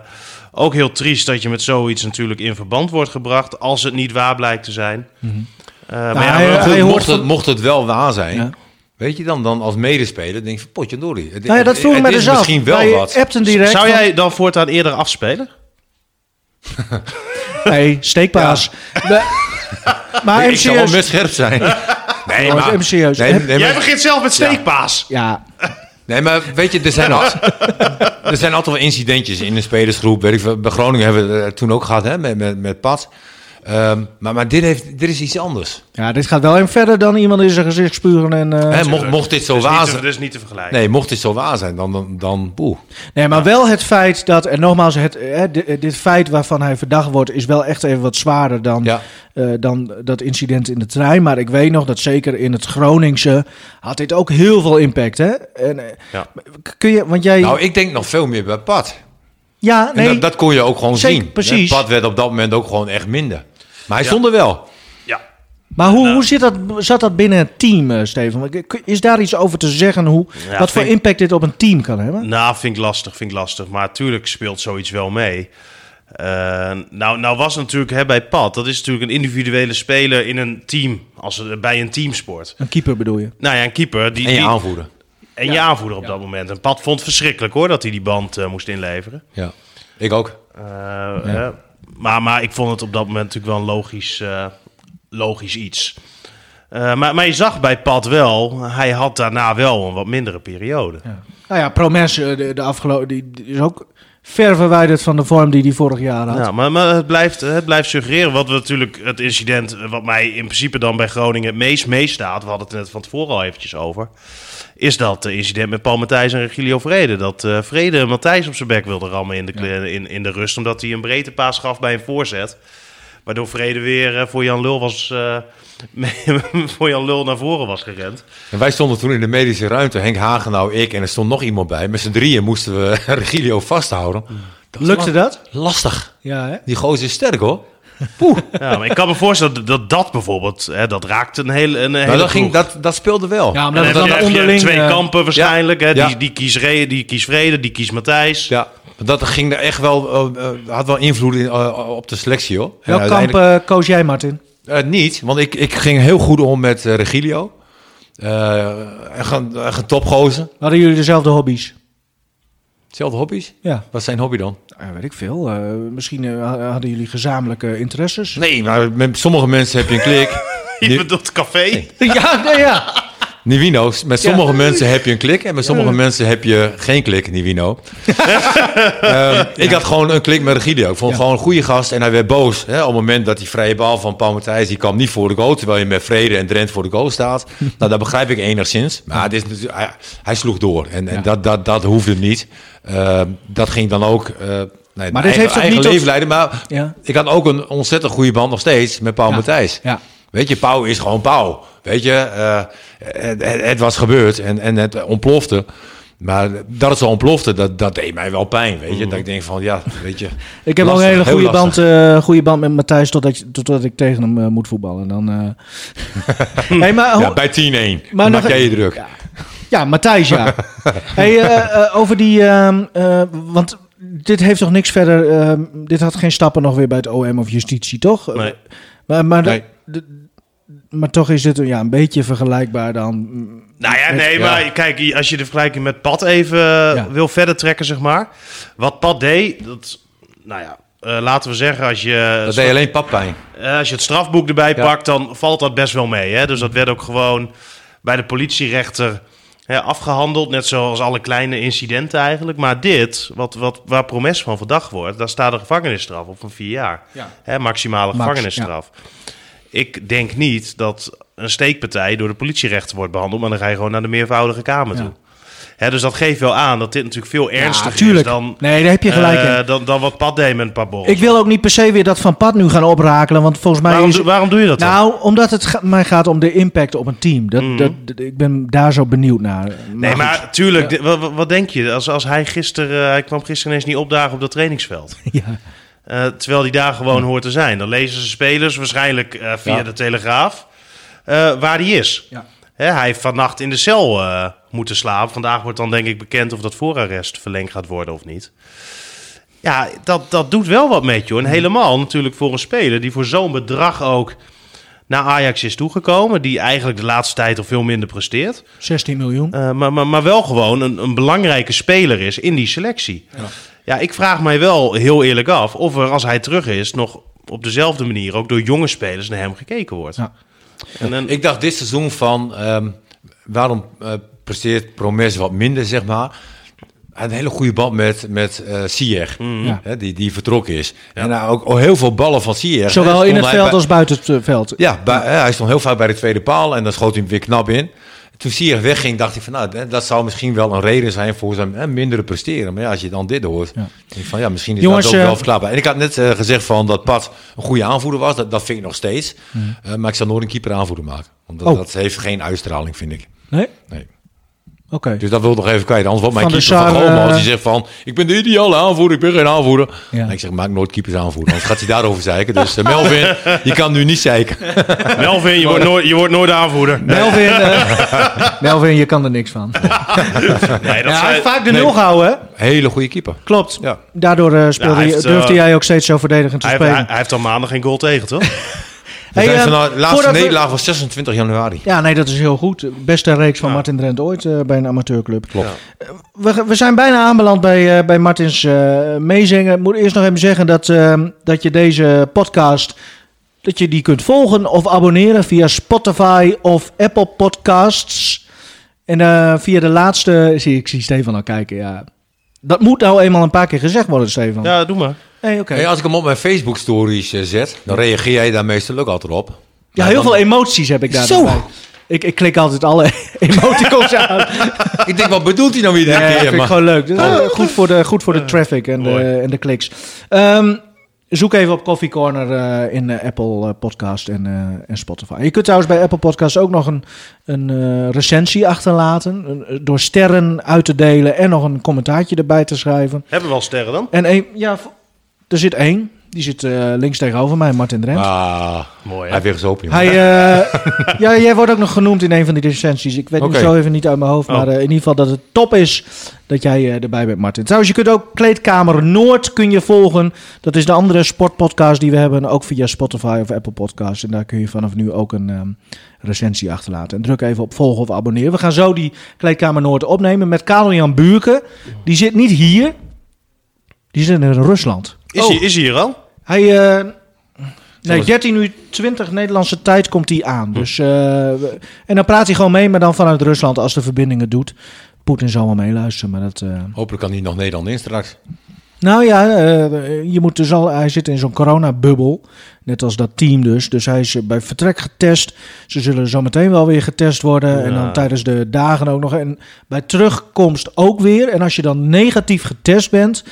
Speaker 2: ook heel triest dat je met zoiets natuurlijk in verband wordt gebracht. Als het niet waar blijkt te zijn. Eh, maar ja,
Speaker 3: hij-
Speaker 2: maar-
Speaker 4: Maar goed,
Speaker 3: hij hoort
Speaker 4: mocht, het,
Speaker 3: van-
Speaker 4: mocht het wel waar zijn,
Speaker 5: Ja.
Speaker 4: weet je dan, dan als medespeler, denk je van potje dorie. Het,
Speaker 3: Nou ja, dat
Speaker 4: het-
Speaker 3: vroeg ik
Speaker 4: het
Speaker 3: me
Speaker 4: is
Speaker 3: dus af.
Speaker 4: misschien wel
Speaker 3: Wij
Speaker 4: wat.
Speaker 3: appten direct.
Speaker 2: zou
Speaker 3: van-
Speaker 2: jij dan voortaan eerder afspelen?
Speaker 3: Nee, steekpaas.
Speaker 4: *laughs*
Speaker 3: We- Maar
Speaker 4: ik zou wel
Speaker 3: MCS...
Speaker 4: best scherp zijn. nee,
Speaker 3: Jongens,
Speaker 4: maar,
Speaker 3: MCS.
Speaker 4: nee, nee,
Speaker 2: Jij
Speaker 4: maar,
Speaker 2: begint zelf met steekpaas.
Speaker 5: Ja.
Speaker 4: nee, maar weet je, er zijn, al, er zijn altijd wel incidentjes in de spelersgroep. Weet ik, veel. bij Groningen hebben we het toen ook gehad hè, met, met, met Pat. Ehm, maar maar dit, heeft, dit is iets anders.
Speaker 3: Ja, dit gaat wel even verder dan iemand in zijn gezicht spuren. En, eh,
Speaker 4: Hè, mocht, mocht dit zo
Speaker 2: Dus
Speaker 4: waar
Speaker 2: niet, te,
Speaker 4: zijn...
Speaker 2: dus niet te vergelijken.
Speaker 4: Nee, mocht dit zo waar zijn, dan, dan, dan boe.
Speaker 3: Nee, maar wel het feit dat... En nogmaals, het, eh, di- dit, feit waarvan hij verdacht wordt... is wel echt even wat zwaarder dan,
Speaker 4: Ja.
Speaker 3: eh, dan dat incident in de trein. Maar ik weet nog dat zeker in het Groningse... had dit ook heel veel impact, hè? En, eh,
Speaker 2: Ja.
Speaker 3: k- Kun je... Want jij...
Speaker 4: Nou, ik denk nog veel meer bij Pat.
Speaker 3: ja,
Speaker 4: En
Speaker 3: nee.
Speaker 4: dat, dat kon je ook gewoon
Speaker 3: Zeker,
Speaker 4: zien.
Speaker 3: precies.
Speaker 4: Pad werd op dat moment ook gewoon echt minder. Maar hij stond er wel.
Speaker 2: Ja.
Speaker 3: Maar hoe,
Speaker 4: Nou.
Speaker 3: hoe zit dat, zat dat binnen het team, eh, Steven? Want k- Is daar iets over te zeggen? Hoe,
Speaker 2: Ja,
Speaker 3: wat voor
Speaker 2: vind-
Speaker 3: impact dit op een team kan hebben?
Speaker 2: Nou, vind ik lastig, vind ik lastig. Maar natuurlijk speelt zoiets wel mee. Eh, nou, nou was het natuurlijk hè, bij Pat, dat is natuurlijk een individuele speler in een team, als het, bij een teamsport.
Speaker 3: Een keeper bedoel je?
Speaker 2: Nou ja, een keeper die
Speaker 4: En je
Speaker 2: die-
Speaker 4: aanvoerder.
Speaker 2: en je aanvoerder op dat moment. En Pat vond het verschrikkelijk hoor dat hij die band eh, moest inleveren.
Speaker 4: Ja. Ik ook.
Speaker 2: Eh, hè. maar, maar ik vond het op dat moment natuurlijk wel een logisch, eh, logisch iets. Eh, maar, maar je zag bij Pat wel, hij had daarna wel een wat mindere periode.
Speaker 3: Nou ja, Promes eh, de, de afgelopen, die, die is ook ver verwijderd van de vorm die hij vorig jaar had.
Speaker 2: Ja, maar, maar het, blijft, het blijft suggereren. Wat we natuurlijk, het incident eh, wat mij in principe dan bij Groningen het meest meestaat. We hadden het er net van tevoren al eventjes over. Is dat eh, incident met Paul Matthijs en Regilio Vrede. Dat eh, Vrede Matthijs op zijn bek wilde rammen in de, kle- in, in de rust. Omdat hij een breedte paas gaf bij een voorzet. Waardoor Vrede weer eh, voor Jan Lul was. eh, *laughs* mee- voor Jan Lul naar voren was gerend.
Speaker 4: En wij stonden toen in de medische ruimte. Henk Hagenau, ik en er stond nog iemand bij. Met z'n drieën moesten we *laughs* Regilio vasthouden. Dat
Speaker 3: Lukte
Speaker 4: was
Speaker 3: dat?
Speaker 4: Lastig.
Speaker 3: Ja, hè?
Speaker 4: Die gozer is sterk hoor.
Speaker 2: Ja, maar ik kan me voorstellen dat dat, dat bijvoorbeeld. Hè, dat raakt een hele. Een hele
Speaker 4: Maar Nou, dat, ging,
Speaker 2: ploeg.
Speaker 4: dat, dat speelde wel.
Speaker 3: Ja,
Speaker 2: En
Speaker 3: maar dat
Speaker 2: dan,
Speaker 3: is
Speaker 2: heb
Speaker 3: dan
Speaker 2: je
Speaker 3: onderling...
Speaker 2: twee
Speaker 3: eh,
Speaker 2: kampen waarschijnlijk. Hè?
Speaker 4: ja.
Speaker 2: Die, die, kiest Re, die kiest Vrede, die kiest Matthijs.
Speaker 4: Ja. Dat ging er echt wel, eh, eh, had wel invloed in, eh, op de selectie hoor. En
Speaker 3: Welk kamp
Speaker 4: uiteindelijk-
Speaker 3: eh, koos jij, Martin?
Speaker 4: Eh, niet, want ik, ik ging heel goed om met eh, Regilio. Eh echt, een, echt een topgozer.
Speaker 3: Hadden jullie dezelfde hobby's?
Speaker 4: Zelfde hobby's.
Speaker 3: Ja.
Speaker 4: Wat is zijn hobby dan?
Speaker 3: weet ik veel. Eh, misschien eh, hadden jullie gezamenlijke interesses.
Speaker 4: Nee, maar met sommige mensen heb *laughs* je een klik.
Speaker 2: Je *laughs*
Speaker 4: Nu-
Speaker 2: bedoelt café.
Speaker 3: *laughs* ja, nee, ja.
Speaker 4: Nivino's, met sommige mensen heb je een klik en met sommige mensen heb je geen
Speaker 3: *laughs*
Speaker 4: klik, Nivino. Ehm, ik had gewoon een klik met Regidio. Ik vond hem gewoon een goede gast en hij werd boos. Hè, op het moment dat die vrije bal van Paul Matthijs, die kwam niet voor de goal, terwijl je met Vrede en Drent voor de
Speaker 3: *laughs*
Speaker 4: goal staat. nou, dat begrijp ik enigszins. Maar het is natuurlijk, hij, hij sloeg door en, en dat, dat, dat hoefde niet. Ehm, dat ging dan ook... eh, nee,
Speaker 3: dit
Speaker 4: eigen-
Speaker 3: heeft ook
Speaker 4: eigen
Speaker 3: niet tot-
Speaker 4: leven leiden, maar
Speaker 3: Ja.
Speaker 4: ik had ook een ontzettend goede band nog steeds met Paul
Speaker 5: Ja.
Speaker 4: Matthijs.
Speaker 5: Ja.
Speaker 4: Weet je, Pauw is gewoon Pauw. Weet je, eh, het, het- het was gebeurd en, en het ontplofte. Maar dat het zo ontplofte, dat, dat deed mij wel pijn. Weet
Speaker 5: Mm.
Speaker 4: je, dat ik denk van ja, weet je.
Speaker 3: Ik heb
Speaker 4: Lastig,
Speaker 3: al een hele
Speaker 4: heel
Speaker 3: goede band,
Speaker 4: lastig.
Speaker 3: eh, goede band met Matthijs totdat, je- totdat ik tegen hem eh, moet voetballen. Dan,
Speaker 4: *laughs*
Speaker 3: eh. hey, maar,
Speaker 5: Oh.
Speaker 3: hoe-
Speaker 4: Ja, bij 10-1.
Speaker 3: Maar
Speaker 4: Maar
Speaker 3: nog
Speaker 4: maak jij
Speaker 3: een-
Speaker 4: je druk.
Speaker 3: Ja, Matthijs,
Speaker 4: *laughs*
Speaker 3: ja. hey, eh, eh, over die... ehm, eh, want dit heeft toch niks verder... ehm, dit had geen stappen nog weer bij het OM of justitie, toch?
Speaker 2: Nee.
Speaker 3: Maar, maar
Speaker 4: Nee.
Speaker 3: de- de-
Speaker 5: maar toch is dit ja, een beetje vergelijkbaar dan.
Speaker 2: Nou ja, nee,
Speaker 4: Ja.
Speaker 2: maar kijk, als je de vergelijking met Pat even eh, wil verder trekken, zeg maar. Wat Pat deed, dat, nou ja, eh, laten we zeggen, als je,
Speaker 4: Dat deed alleen pappijn.
Speaker 2: eh, als je het strafboek erbij
Speaker 4: Ja.
Speaker 2: pakt, dan valt dat best wel mee. Hè? Dus dat werd ook gewoon bij de politierechter hè, afgehandeld. Net zoals alle kleine incidenten eigenlijk. Maar dit, wat, wat, waar promes van verdacht wordt, daar staat een gevangenisstraf op van vier jaar. Hè, maximale
Speaker 5: Max,
Speaker 2: gevangenisstraf. Ik denk niet dat een steekpartij door de politierechter wordt behandeld, maar dan ga je gewoon naar de meervoudige kamer
Speaker 5: Ja.
Speaker 2: toe. Hè, dus dat geeft wel aan dat dit natuurlijk veel ernstiger is
Speaker 3: tuurlijk.
Speaker 2: dan,
Speaker 3: Nee, daar heb je gelijk
Speaker 2: eh,
Speaker 3: in.
Speaker 2: dan, dan wat Pat deed met een paar borrels.
Speaker 3: Ik wil ook niet per se weer dat van pad nu gaan oprakelen, want volgens mij
Speaker 2: waarom,
Speaker 3: is
Speaker 2: doe- waarom doe je dat dan?
Speaker 3: Nou, omdat het ga- mij gaat om de impact op een team. Dat, dat, dat- ik ben daar zo benieuwd naar.
Speaker 2: Nee, maar
Speaker 3: goed.
Speaker 2: tuurlijk, dit- wa- wa- wat, denk je? Als, als hij gisteren, eh, hij kwam gisteren ineens niet opdagen op dat trainingsveld.
Speaker 3: Ja.
Speaker 2: Eh, terwijl die daar gewoon hoort te zijn. Dan lezen ze spelers waarschijnlijk eh, via
Speaker 4: Ja.
Speaker 2: de Telegraaf eh, waar hij is.
Speaker 5: Ja.
Speaker 2: Hè, hij heeft vannacht in de cel eh, moeten slapen. Vandaag wordt dan denk ik bekend of dat voorarrest verlengd gaat worden of niet. Ja, dat, dat doet wel wat met je. hoor. En helemaal natuurlijk voor een speler die voor zo'n bedrag ook naar Ajax is toegekomen. Die eigenlijk de laatste tijd al veel minder presteert.
Speaker 5: 16 miljoen.
Speaker 2: Eh, maar, maar, maar wel gewoon een, een belangrijke speler is in die selectie. Ja. ik vraag mij wel heel eerlijk af of er als hij terug is nog op dezelfde manier ook door jonge spelers naar hem gekeken wordt.
Speaker 5: Ja.
Speaker 2: En dan-
Speaker 4: Ik dacht dit seizoen van, ehm, waarom eh, presteert Promes wat minder, zeg maar. Hij had Een hele goede band met, met eh Ziyech,
Speaker 5: Mm. Ja.
Speaker 4: hè, die, die vertrokken is. En nou, ook ook heel veel ballen van Ziyech.
Speaker 5: Zowel
Speaker 2: eh,
Speaker 4: Hij
Speaker 5: in
Speaker 4: stond
Speaker 5: het
Speaker 4: bij-
Speaker 5: veld
Speaker 4: bij-
Speaker 5: als buiten het eh, veld.
Speaker 4: Ja, bij- hè, hij stond heel vaak bij de tweede paal en dan schoot hij hem weer knap in. Toen Ziyech wegging, dacht ik van, nou, hè, dat zou misschien wel een reden zijn voor zijn hè, mindere presteren. Maar ja, als je dan dit hoort, denk ik van, ja, misschien is
Speaker 5: Jongens,
Speaker 4: dat ook wel
Speaker 5: eh,
Speaker 4: verklaarbaar. En ik had net eh, gezegd van dat Pat een goede aanvoerder was. Dat, dat vind ik nog steeds. Eh, maar ik zou nooit een keeper aanvoerder maken. Want dat,
Speaker 5: Oh.
Speaker 4: dat heeft geen uitstraling, vind ik.
Speaker 5: Nee?
Speaker 4: Nee.
Speaker 5: Oké.
Speaker 4: Dus dat wil ik nog even kwijt. Anders wordt mijn
Speaker 5: Van der
Speaker 4: keeper van
Speaker 5: Sar,
Speaker 4: Goma, als
Speaker 5: eh,
Speaker 4: die zegt van... ik ben de ideale aanvoerder, ik ben geen aanvoerder.
Speaker 5: Ja.
Speaker 4: En ik zeg, maak nooit keepers aanvoerder. Anders gaat hij daarover zeiken. Dus eh, Melvin, je kan nu niet zeiken.
Speaker 2: Melvin, je wordt nooit, je wordt nooit aanvoerder. Nee,
Speaker 5: Melvin,
Speaker 2: *laughs*
Speaker 5: eh, Melvin, je kan er niks van.
Speaker 2: dat
Speaker 3: Ja, hij
Speaker 2: zei-
Speaker 3: heeft *laughs* vaak de
Speaker 4: Nee.
Speaker 3: nul gehouden, hè?
Speaker 4: Hele goede keeper.
Speaker 3: Klopt.
Speaker 4: Ja.
Speaker 3: Daardoor eh, speelde
Speaker 2: Ja, hij
Speaker 3: je-
Speaker 2: heeft,
Speaker 3: durfde
Speaker 2: eh,
Speaker 3: jij ook steeds zo verdedigend te
Speaker 2: hij, heeft,
Speaker 3: spelen.
Speaker 2: hij- hij heeft al maanden geen goal tegen, toch?
Speaker 4: We
Speaker 3: Hey,
Speaker 4: zijn
Speaker 3: eh,
Speaker 4: van de laatste
Speaker 3: voordat we-
Speaker 4: nederlaag was 26 januari.
Speaker 3: Ja, nee, dat is heel goed. Beste reeks van
Speaker 2: Ja.
Speaker 3: Martin Drent ooit eh, bij een amateurclub. Eh,
Speaker 4: Klopt.
Speaker 3: We, we zijn bijna aanbeland bij, eh, bij Martins eh, meezingen. Ik moet eerst nog even zeggen dat, eh, dat je deze podcast... dat je die kunt volgen of abonneren via Spotify of Apple Podcasts. En eh, via de laatste... Zie, ik zie Stefan al kijken, ja. Dat moet nou eenmaal een paar keer gezegd worden, Stefan.
Speaker 2: ja, doe maar.
Speaker 3: Nee, oké.
Speaker 4: Hey, als ik hem op mijn Facebook stories eh, zet, dan reageer jij daar meestal ook altijd op. *laughs*
Speaker 3: Ja,
Speaker 4: Maar
Speaker 3: heel
Speaker 4: dan-
Speaker 3: veel emoties heb ik daar.
Speaker 4: Zo.
Speaker 3: bij. Ik, ik klik altijd alle *laughs* emoticons aan.
Speaker 4: Ik denk, wat bedoelt hij nou weer dit
Speaker 3: Ja, dat
Speaker 4: keer?
Speaker 3: vind ik
Speaker 4: Maar-
Speaker 3: gewoon leuk. Dus, eh, goed Eh, voor de, goed voor de traffic en
Speaker 2: mooi.
Speaker 3: de, en de kliks. Ehm, zoek even op Coffee Corner eh, in eh, Apple eh, Podcast en, eh, en Spotify. Je kunt trouwens bij Apple Podcast ook nog een, een eh, recensie achterlaten. Een- eh, door sterren uit te delen en nog een commentaartje erbij te schrijven.
Speaker 2: Hebben we wel sterren dan?
Speaker 3: En één, ja, v- er zit één. Die zit eh, links tegenover mij, Martin Drent.
Speaker 4: Ah,
Speaker 2: Mooi, hè?
Speaker 4: hij weer eens open, jongen.
Speaker 3: Hij, eh, *laughs* ja, jij wordt ook nog genoemd in een van die recensies. Ik weet
Speaker 4: Oké.
Speaker 3: niet zo even niet uit mijn hoofd.
Speaker 2: Oh.
Speaker 3: Maar eh, in ieder geval dat het top is dat jij eh, erbij bent, Martin. Trouwens, je kunt ook Kleedkamer Noord kun je volgen. Dat is de andere sportpodcast die we hebben. Ook via Spotify of Apple Podcasts. En daar kun je vanaf nu ook een ehm, recensie achterlaten. En druk even op volgen of abonneren. We gaan zo die Kleedkamer Noord opnemen met Karel-Jan Buurke. Die zit niet hier. Die zit in Rusland.
Speaker 2: Is, hij, is hij hier al?
Speaker 3: Hij. eh, nee, 13 uur 20 Nederlandse tijd komt hij aan. Dus, eh, we- en dan praat hij gewoon mee, maar dan vanuit Rusland als de verbindingen doet. Poetin zal wel meeluisteren, maar dat... eh,
Speaker 4: Hopelijk kan hij nog Nederland in straks.
Speaker 3: Nou ja, eh, je moet dus al, hij zit in zo'n coronabubbel. Net als dat team dus. Dus hij is eh, bij vertrek getest. Ze zullen zometeen wel weer getest worden. En
Speaker 2: Ja.
Speaker 3: dan tijdens de dagen ook nog. En bij terugkomst ook weer. En als je dan negatief getest bent,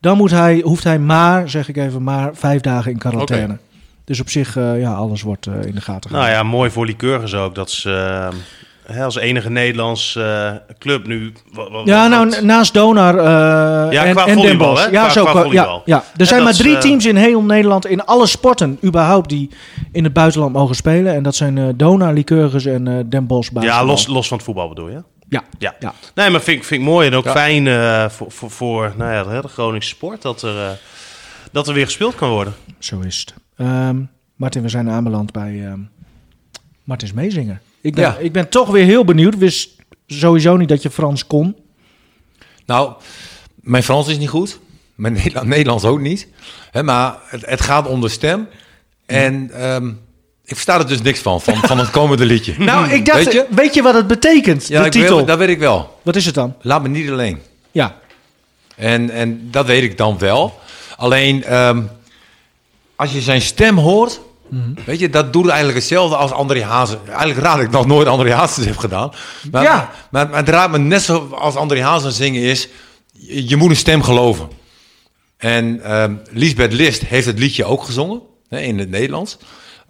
Speaker 3: dan moet hij, hoeft hij maar, zeg ik even, maar vijf dagen in quarantaine.
Speaker 4: Oké.
Speaker 3: Dus op zich, eh, ja, alles wordt eh, in de gaten
Speaker 2: Nou
Speaker 3: gehouden.
Speaker 2: ja, mooi voor Lycurgus ook. Dat ze eh, hè, als enige Nederlands eh, club nu... wa- wa-
Speaker 3: Ja,
Speaker 2: wat-
Speaker 3: nou, na- naast Donar eh
Speaker 2: Ja,
Speaker 3: en,
Speaker 2: qua
Speaker 3: en Den
Speaker 2: volleybal,
Speaker 3: Bosch.
Speaker 2: hè?
Speaker 3: Ja,
Speaker 2: Qua-
Speaker 3: zo,
Speaker 2: qua
Speaker 3: qua- ja,
Speaker 2: volleybal.
Speaker 3: ja.
Speaker 2: En
Speaker 3: Er zijn
Speaker 2: dat
Speaker 3: maar
Speaker 2: is,
Speaker 3: drie
Speaker 2: eh,
Speaker 3: teams in heel Nederland, in alle sporten überhaupt, die in het buitenland mogen spelen. En dat zijn eh Donar, Lycurgus en eh Den Bosch.
Speaker 2: ja
Speaker 3: basketbal.
Speaker 2: los, los van het voetbal bedoel je?
Speaker 3: Ja.
Speaker 2: Ja.
Speaker 3: Ja.
Speaker 2: Nee, maar vind, ik- vind ik mooi en ook
Speaker 4: Ja.
Speaker 2: fijn eh, voor, voor, voor nou ja, de hele Groningse sport dat er, eh, dat er weer gespeeld kan worden.
Speaker 3: Zo is het. Ehm, Martin, we zijn aanbeland bij ehm, Martins Meezinger. Ik ben,
Speaker 4: Ja.
Speaker 3: ik ben toch weer heel benieuwd. Wist sowieso niet dat je Frans kon.
Speaker 4: Nou, mijn Frans is niet goed. Mijn *laughs* Nederla- Nederlands ook niet. Hè, maar het, het gaat om de stem. En ehm, ik versta er dus niks van, van, van het komende liedje.
Speaker 3: *laughs* Nou, ik dacht,
Speaker 4: Weet
Speaker 3: weet
Speaker 4: je?
Speaker 3: je, wat het betekent,
Speaker 4: ja,
Speaker 3: de
Speaker 4: ik weet-
Speaker 3: titel?
Speaker 4: dat weet ik wel.
Speaker 3: Wat is het dan?
Speaker 4: Laat me niet alleen.
Speaker 3: Ja,
Speaker 4: En, en dat weet ik dan wel. Alleen, ehm, als je zijn stem hoort... Weet je, dat doet eigenlijk hetzelfde als André Hazes. Eigenlijk raad ik nog nooit André Hazes heb gedaan. Maar,
Speaker 3: Ja.
Speaker 4: maar, maar het raadt me net zo als André Hazes zingen is... Je, je moet een stem geloven. En ehm Lisbeth List heeft het liedje ook gezongen. Hè, in het Nederlands.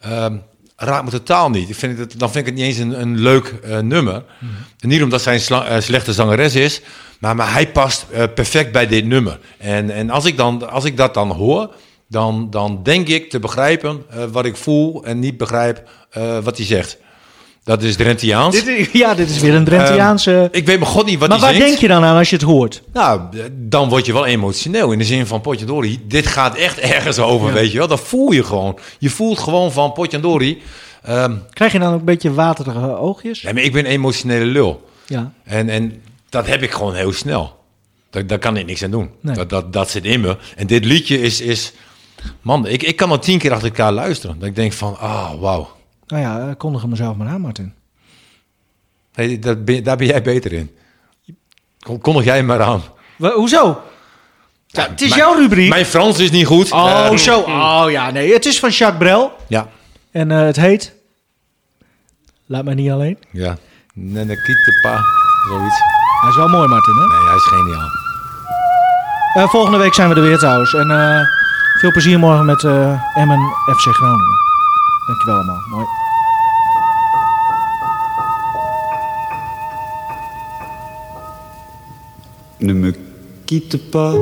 Speaker 4: Ehm raakt me totaal niet. Ik vind het, dan vind ik het niet eens een, een leuk eh, nummer.
Speaker 3: Mhm.
Speaker 4: En niet omdat zij een sla- eh, slechte zangeres is. Maar, maar hij past eh, perfect bij dit nummer. En, en als, ik dan, als ik dat dan hoor... Dan, dan denk ik te begrijpen eh, wat ik voel en niet begrijp eh, wat hij zegt. Dat is
Speaker 3: *laughs*
Speaker 4: Drentiaans. Ehm,
Speaker 3: dit is, Ehm, ja, dit is weer een Drentiaanse...
Speaker 4: Ik weet mijn god niet wat
Speaker 3: maar
Speaker 4: hij
Speaker 3: waar
Speaker 4: zingt.
Speaker 3: denk je dan aan als je het hoort?
Speaker 4: Nou, dan word je wel emotioneel. In de zin van Potjandori, dit gaat echt ergens over, weet je wel. Dat voel je gewoon. Je voelt gewoon van Potjandori. ehm
Speaker 3: Krijg je dan ook een beetje waterige oogjes?
Speaker 4: nee, maar ik ben een emotionele lul.
Speaker 3: Ja.
Speaker 4: En, en dat heb ik gewoon heel snel. Daar, daar kan ik niks aan doen.
Speaker 3: Nee.
Speaker 4: Dat, dat, dat zit in me. En dit liedje is... is man, ik, ik kan al tien keer achter elkaar luisteren. Dat ik denk van, ah, wauw.
Speaker 3: Nou ja, eh, kondig hem mezelf maar aan, Martin.
Speaker 4: Hey, dat ben- daar ben jij beter in. Kon- Kondig jij maar aan.
Speaker 3: Wa- hoezo? Ja, het is
Speaker 4: mijn-
Speaker 3: jouw rubriek.
Speaker 4: Mijn Frans is niet goed.
Speaker 3: oh,
Speaker 4: Eh,
Speaker 3: zo. Oh ja, nee. Het is van Jacques Brel.
Speaker 4: Ja.
Speaker 3: En eh, het heet... Laat mij niet alleen.
Speaker 4: Ja. Nenekitepa. Zoiets.
Speaker 3: Hij is wel mooi, Martin, hè?
Speaker 4: Nee, hij is geniaal.
Speaker 3: Eh, volgende week zijn we er weer trouwens. En eh, veel plezier morgen met eh, Emmen FC Groningen. Dankjewel allemaal. Mooi.
Speaker 6: Ne me quitte pas,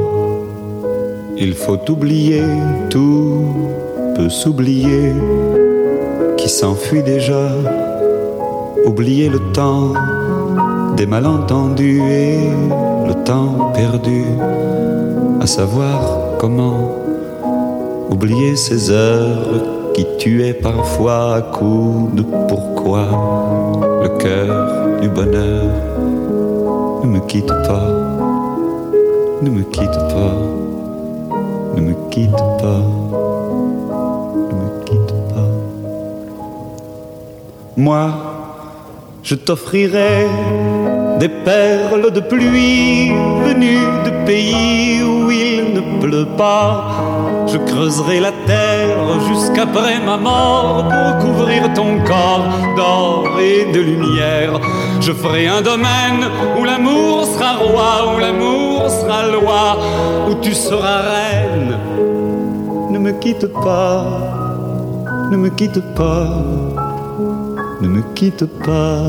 Speaker 6: il faut oublier, tout peut s'oublier, qui s'enfuit déjà. Oublier le temps des malentendus et le temps perdu, à savoir comment oublier ces heures qui tuaient parfois à coups de pourquoi le cœur du bonheur ne me quitte pas, ne me quitte pas, ne me quitte pas, ne me quitte pas. Moi, je t'offrirai des perles de pluie venues de pays où il ne pleut pas. Je creuserai la terre jusqu'après ma mort pour couvrir ton corps d'or et de lumière. Je ferai un domaine où l'amour sera roi, où l'amour sera loi, où tu seras reine. Ne me quitte pas, ne me quitte pas, ne me quitte pas,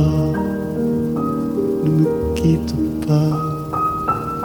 Speaker 6: ne me quitte pas.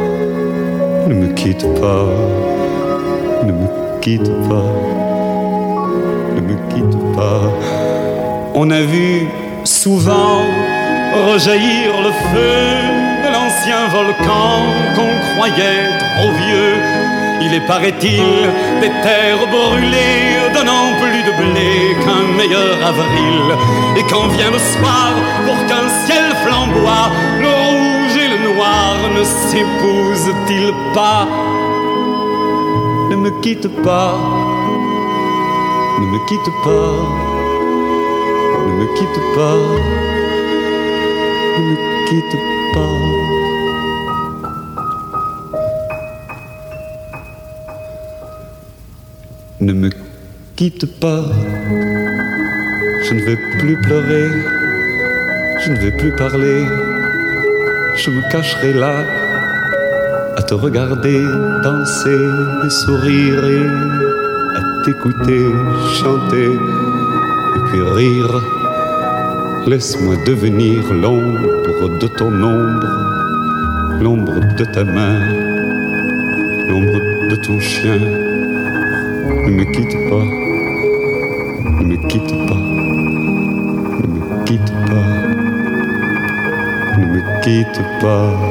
Speaker 6: Ne me quitte pas, ne me quitte pas, ne me quitte pas. On a vu souvent rejaillir le feu de l'ancien volcan qu'on croyait trop vieux. Il est, paraît-il, des terres brûlées donnant plus de blé qu'un meilleur avril. Et quand vient le soir pour qu'un ciel flamboie, le rouge et le noir ne s'épousent-ils pas Ne me quitte pas, ne me quitte pas ne me quitte pas, ne me quitte pas. Ne me quitte pas, je ne vais plus pleurer, je ne vais plus parler, je me cacherai là à te regarder danser et sourire et à t'écouter chanter et puis rire. Laisse-moi devenir l'ombre de ton ombre, l'ombre de ta main, l'ombre de ton chien. Ne me quitte pas, ne me quitte pas, ne me quitte pas, ne me quitte pas.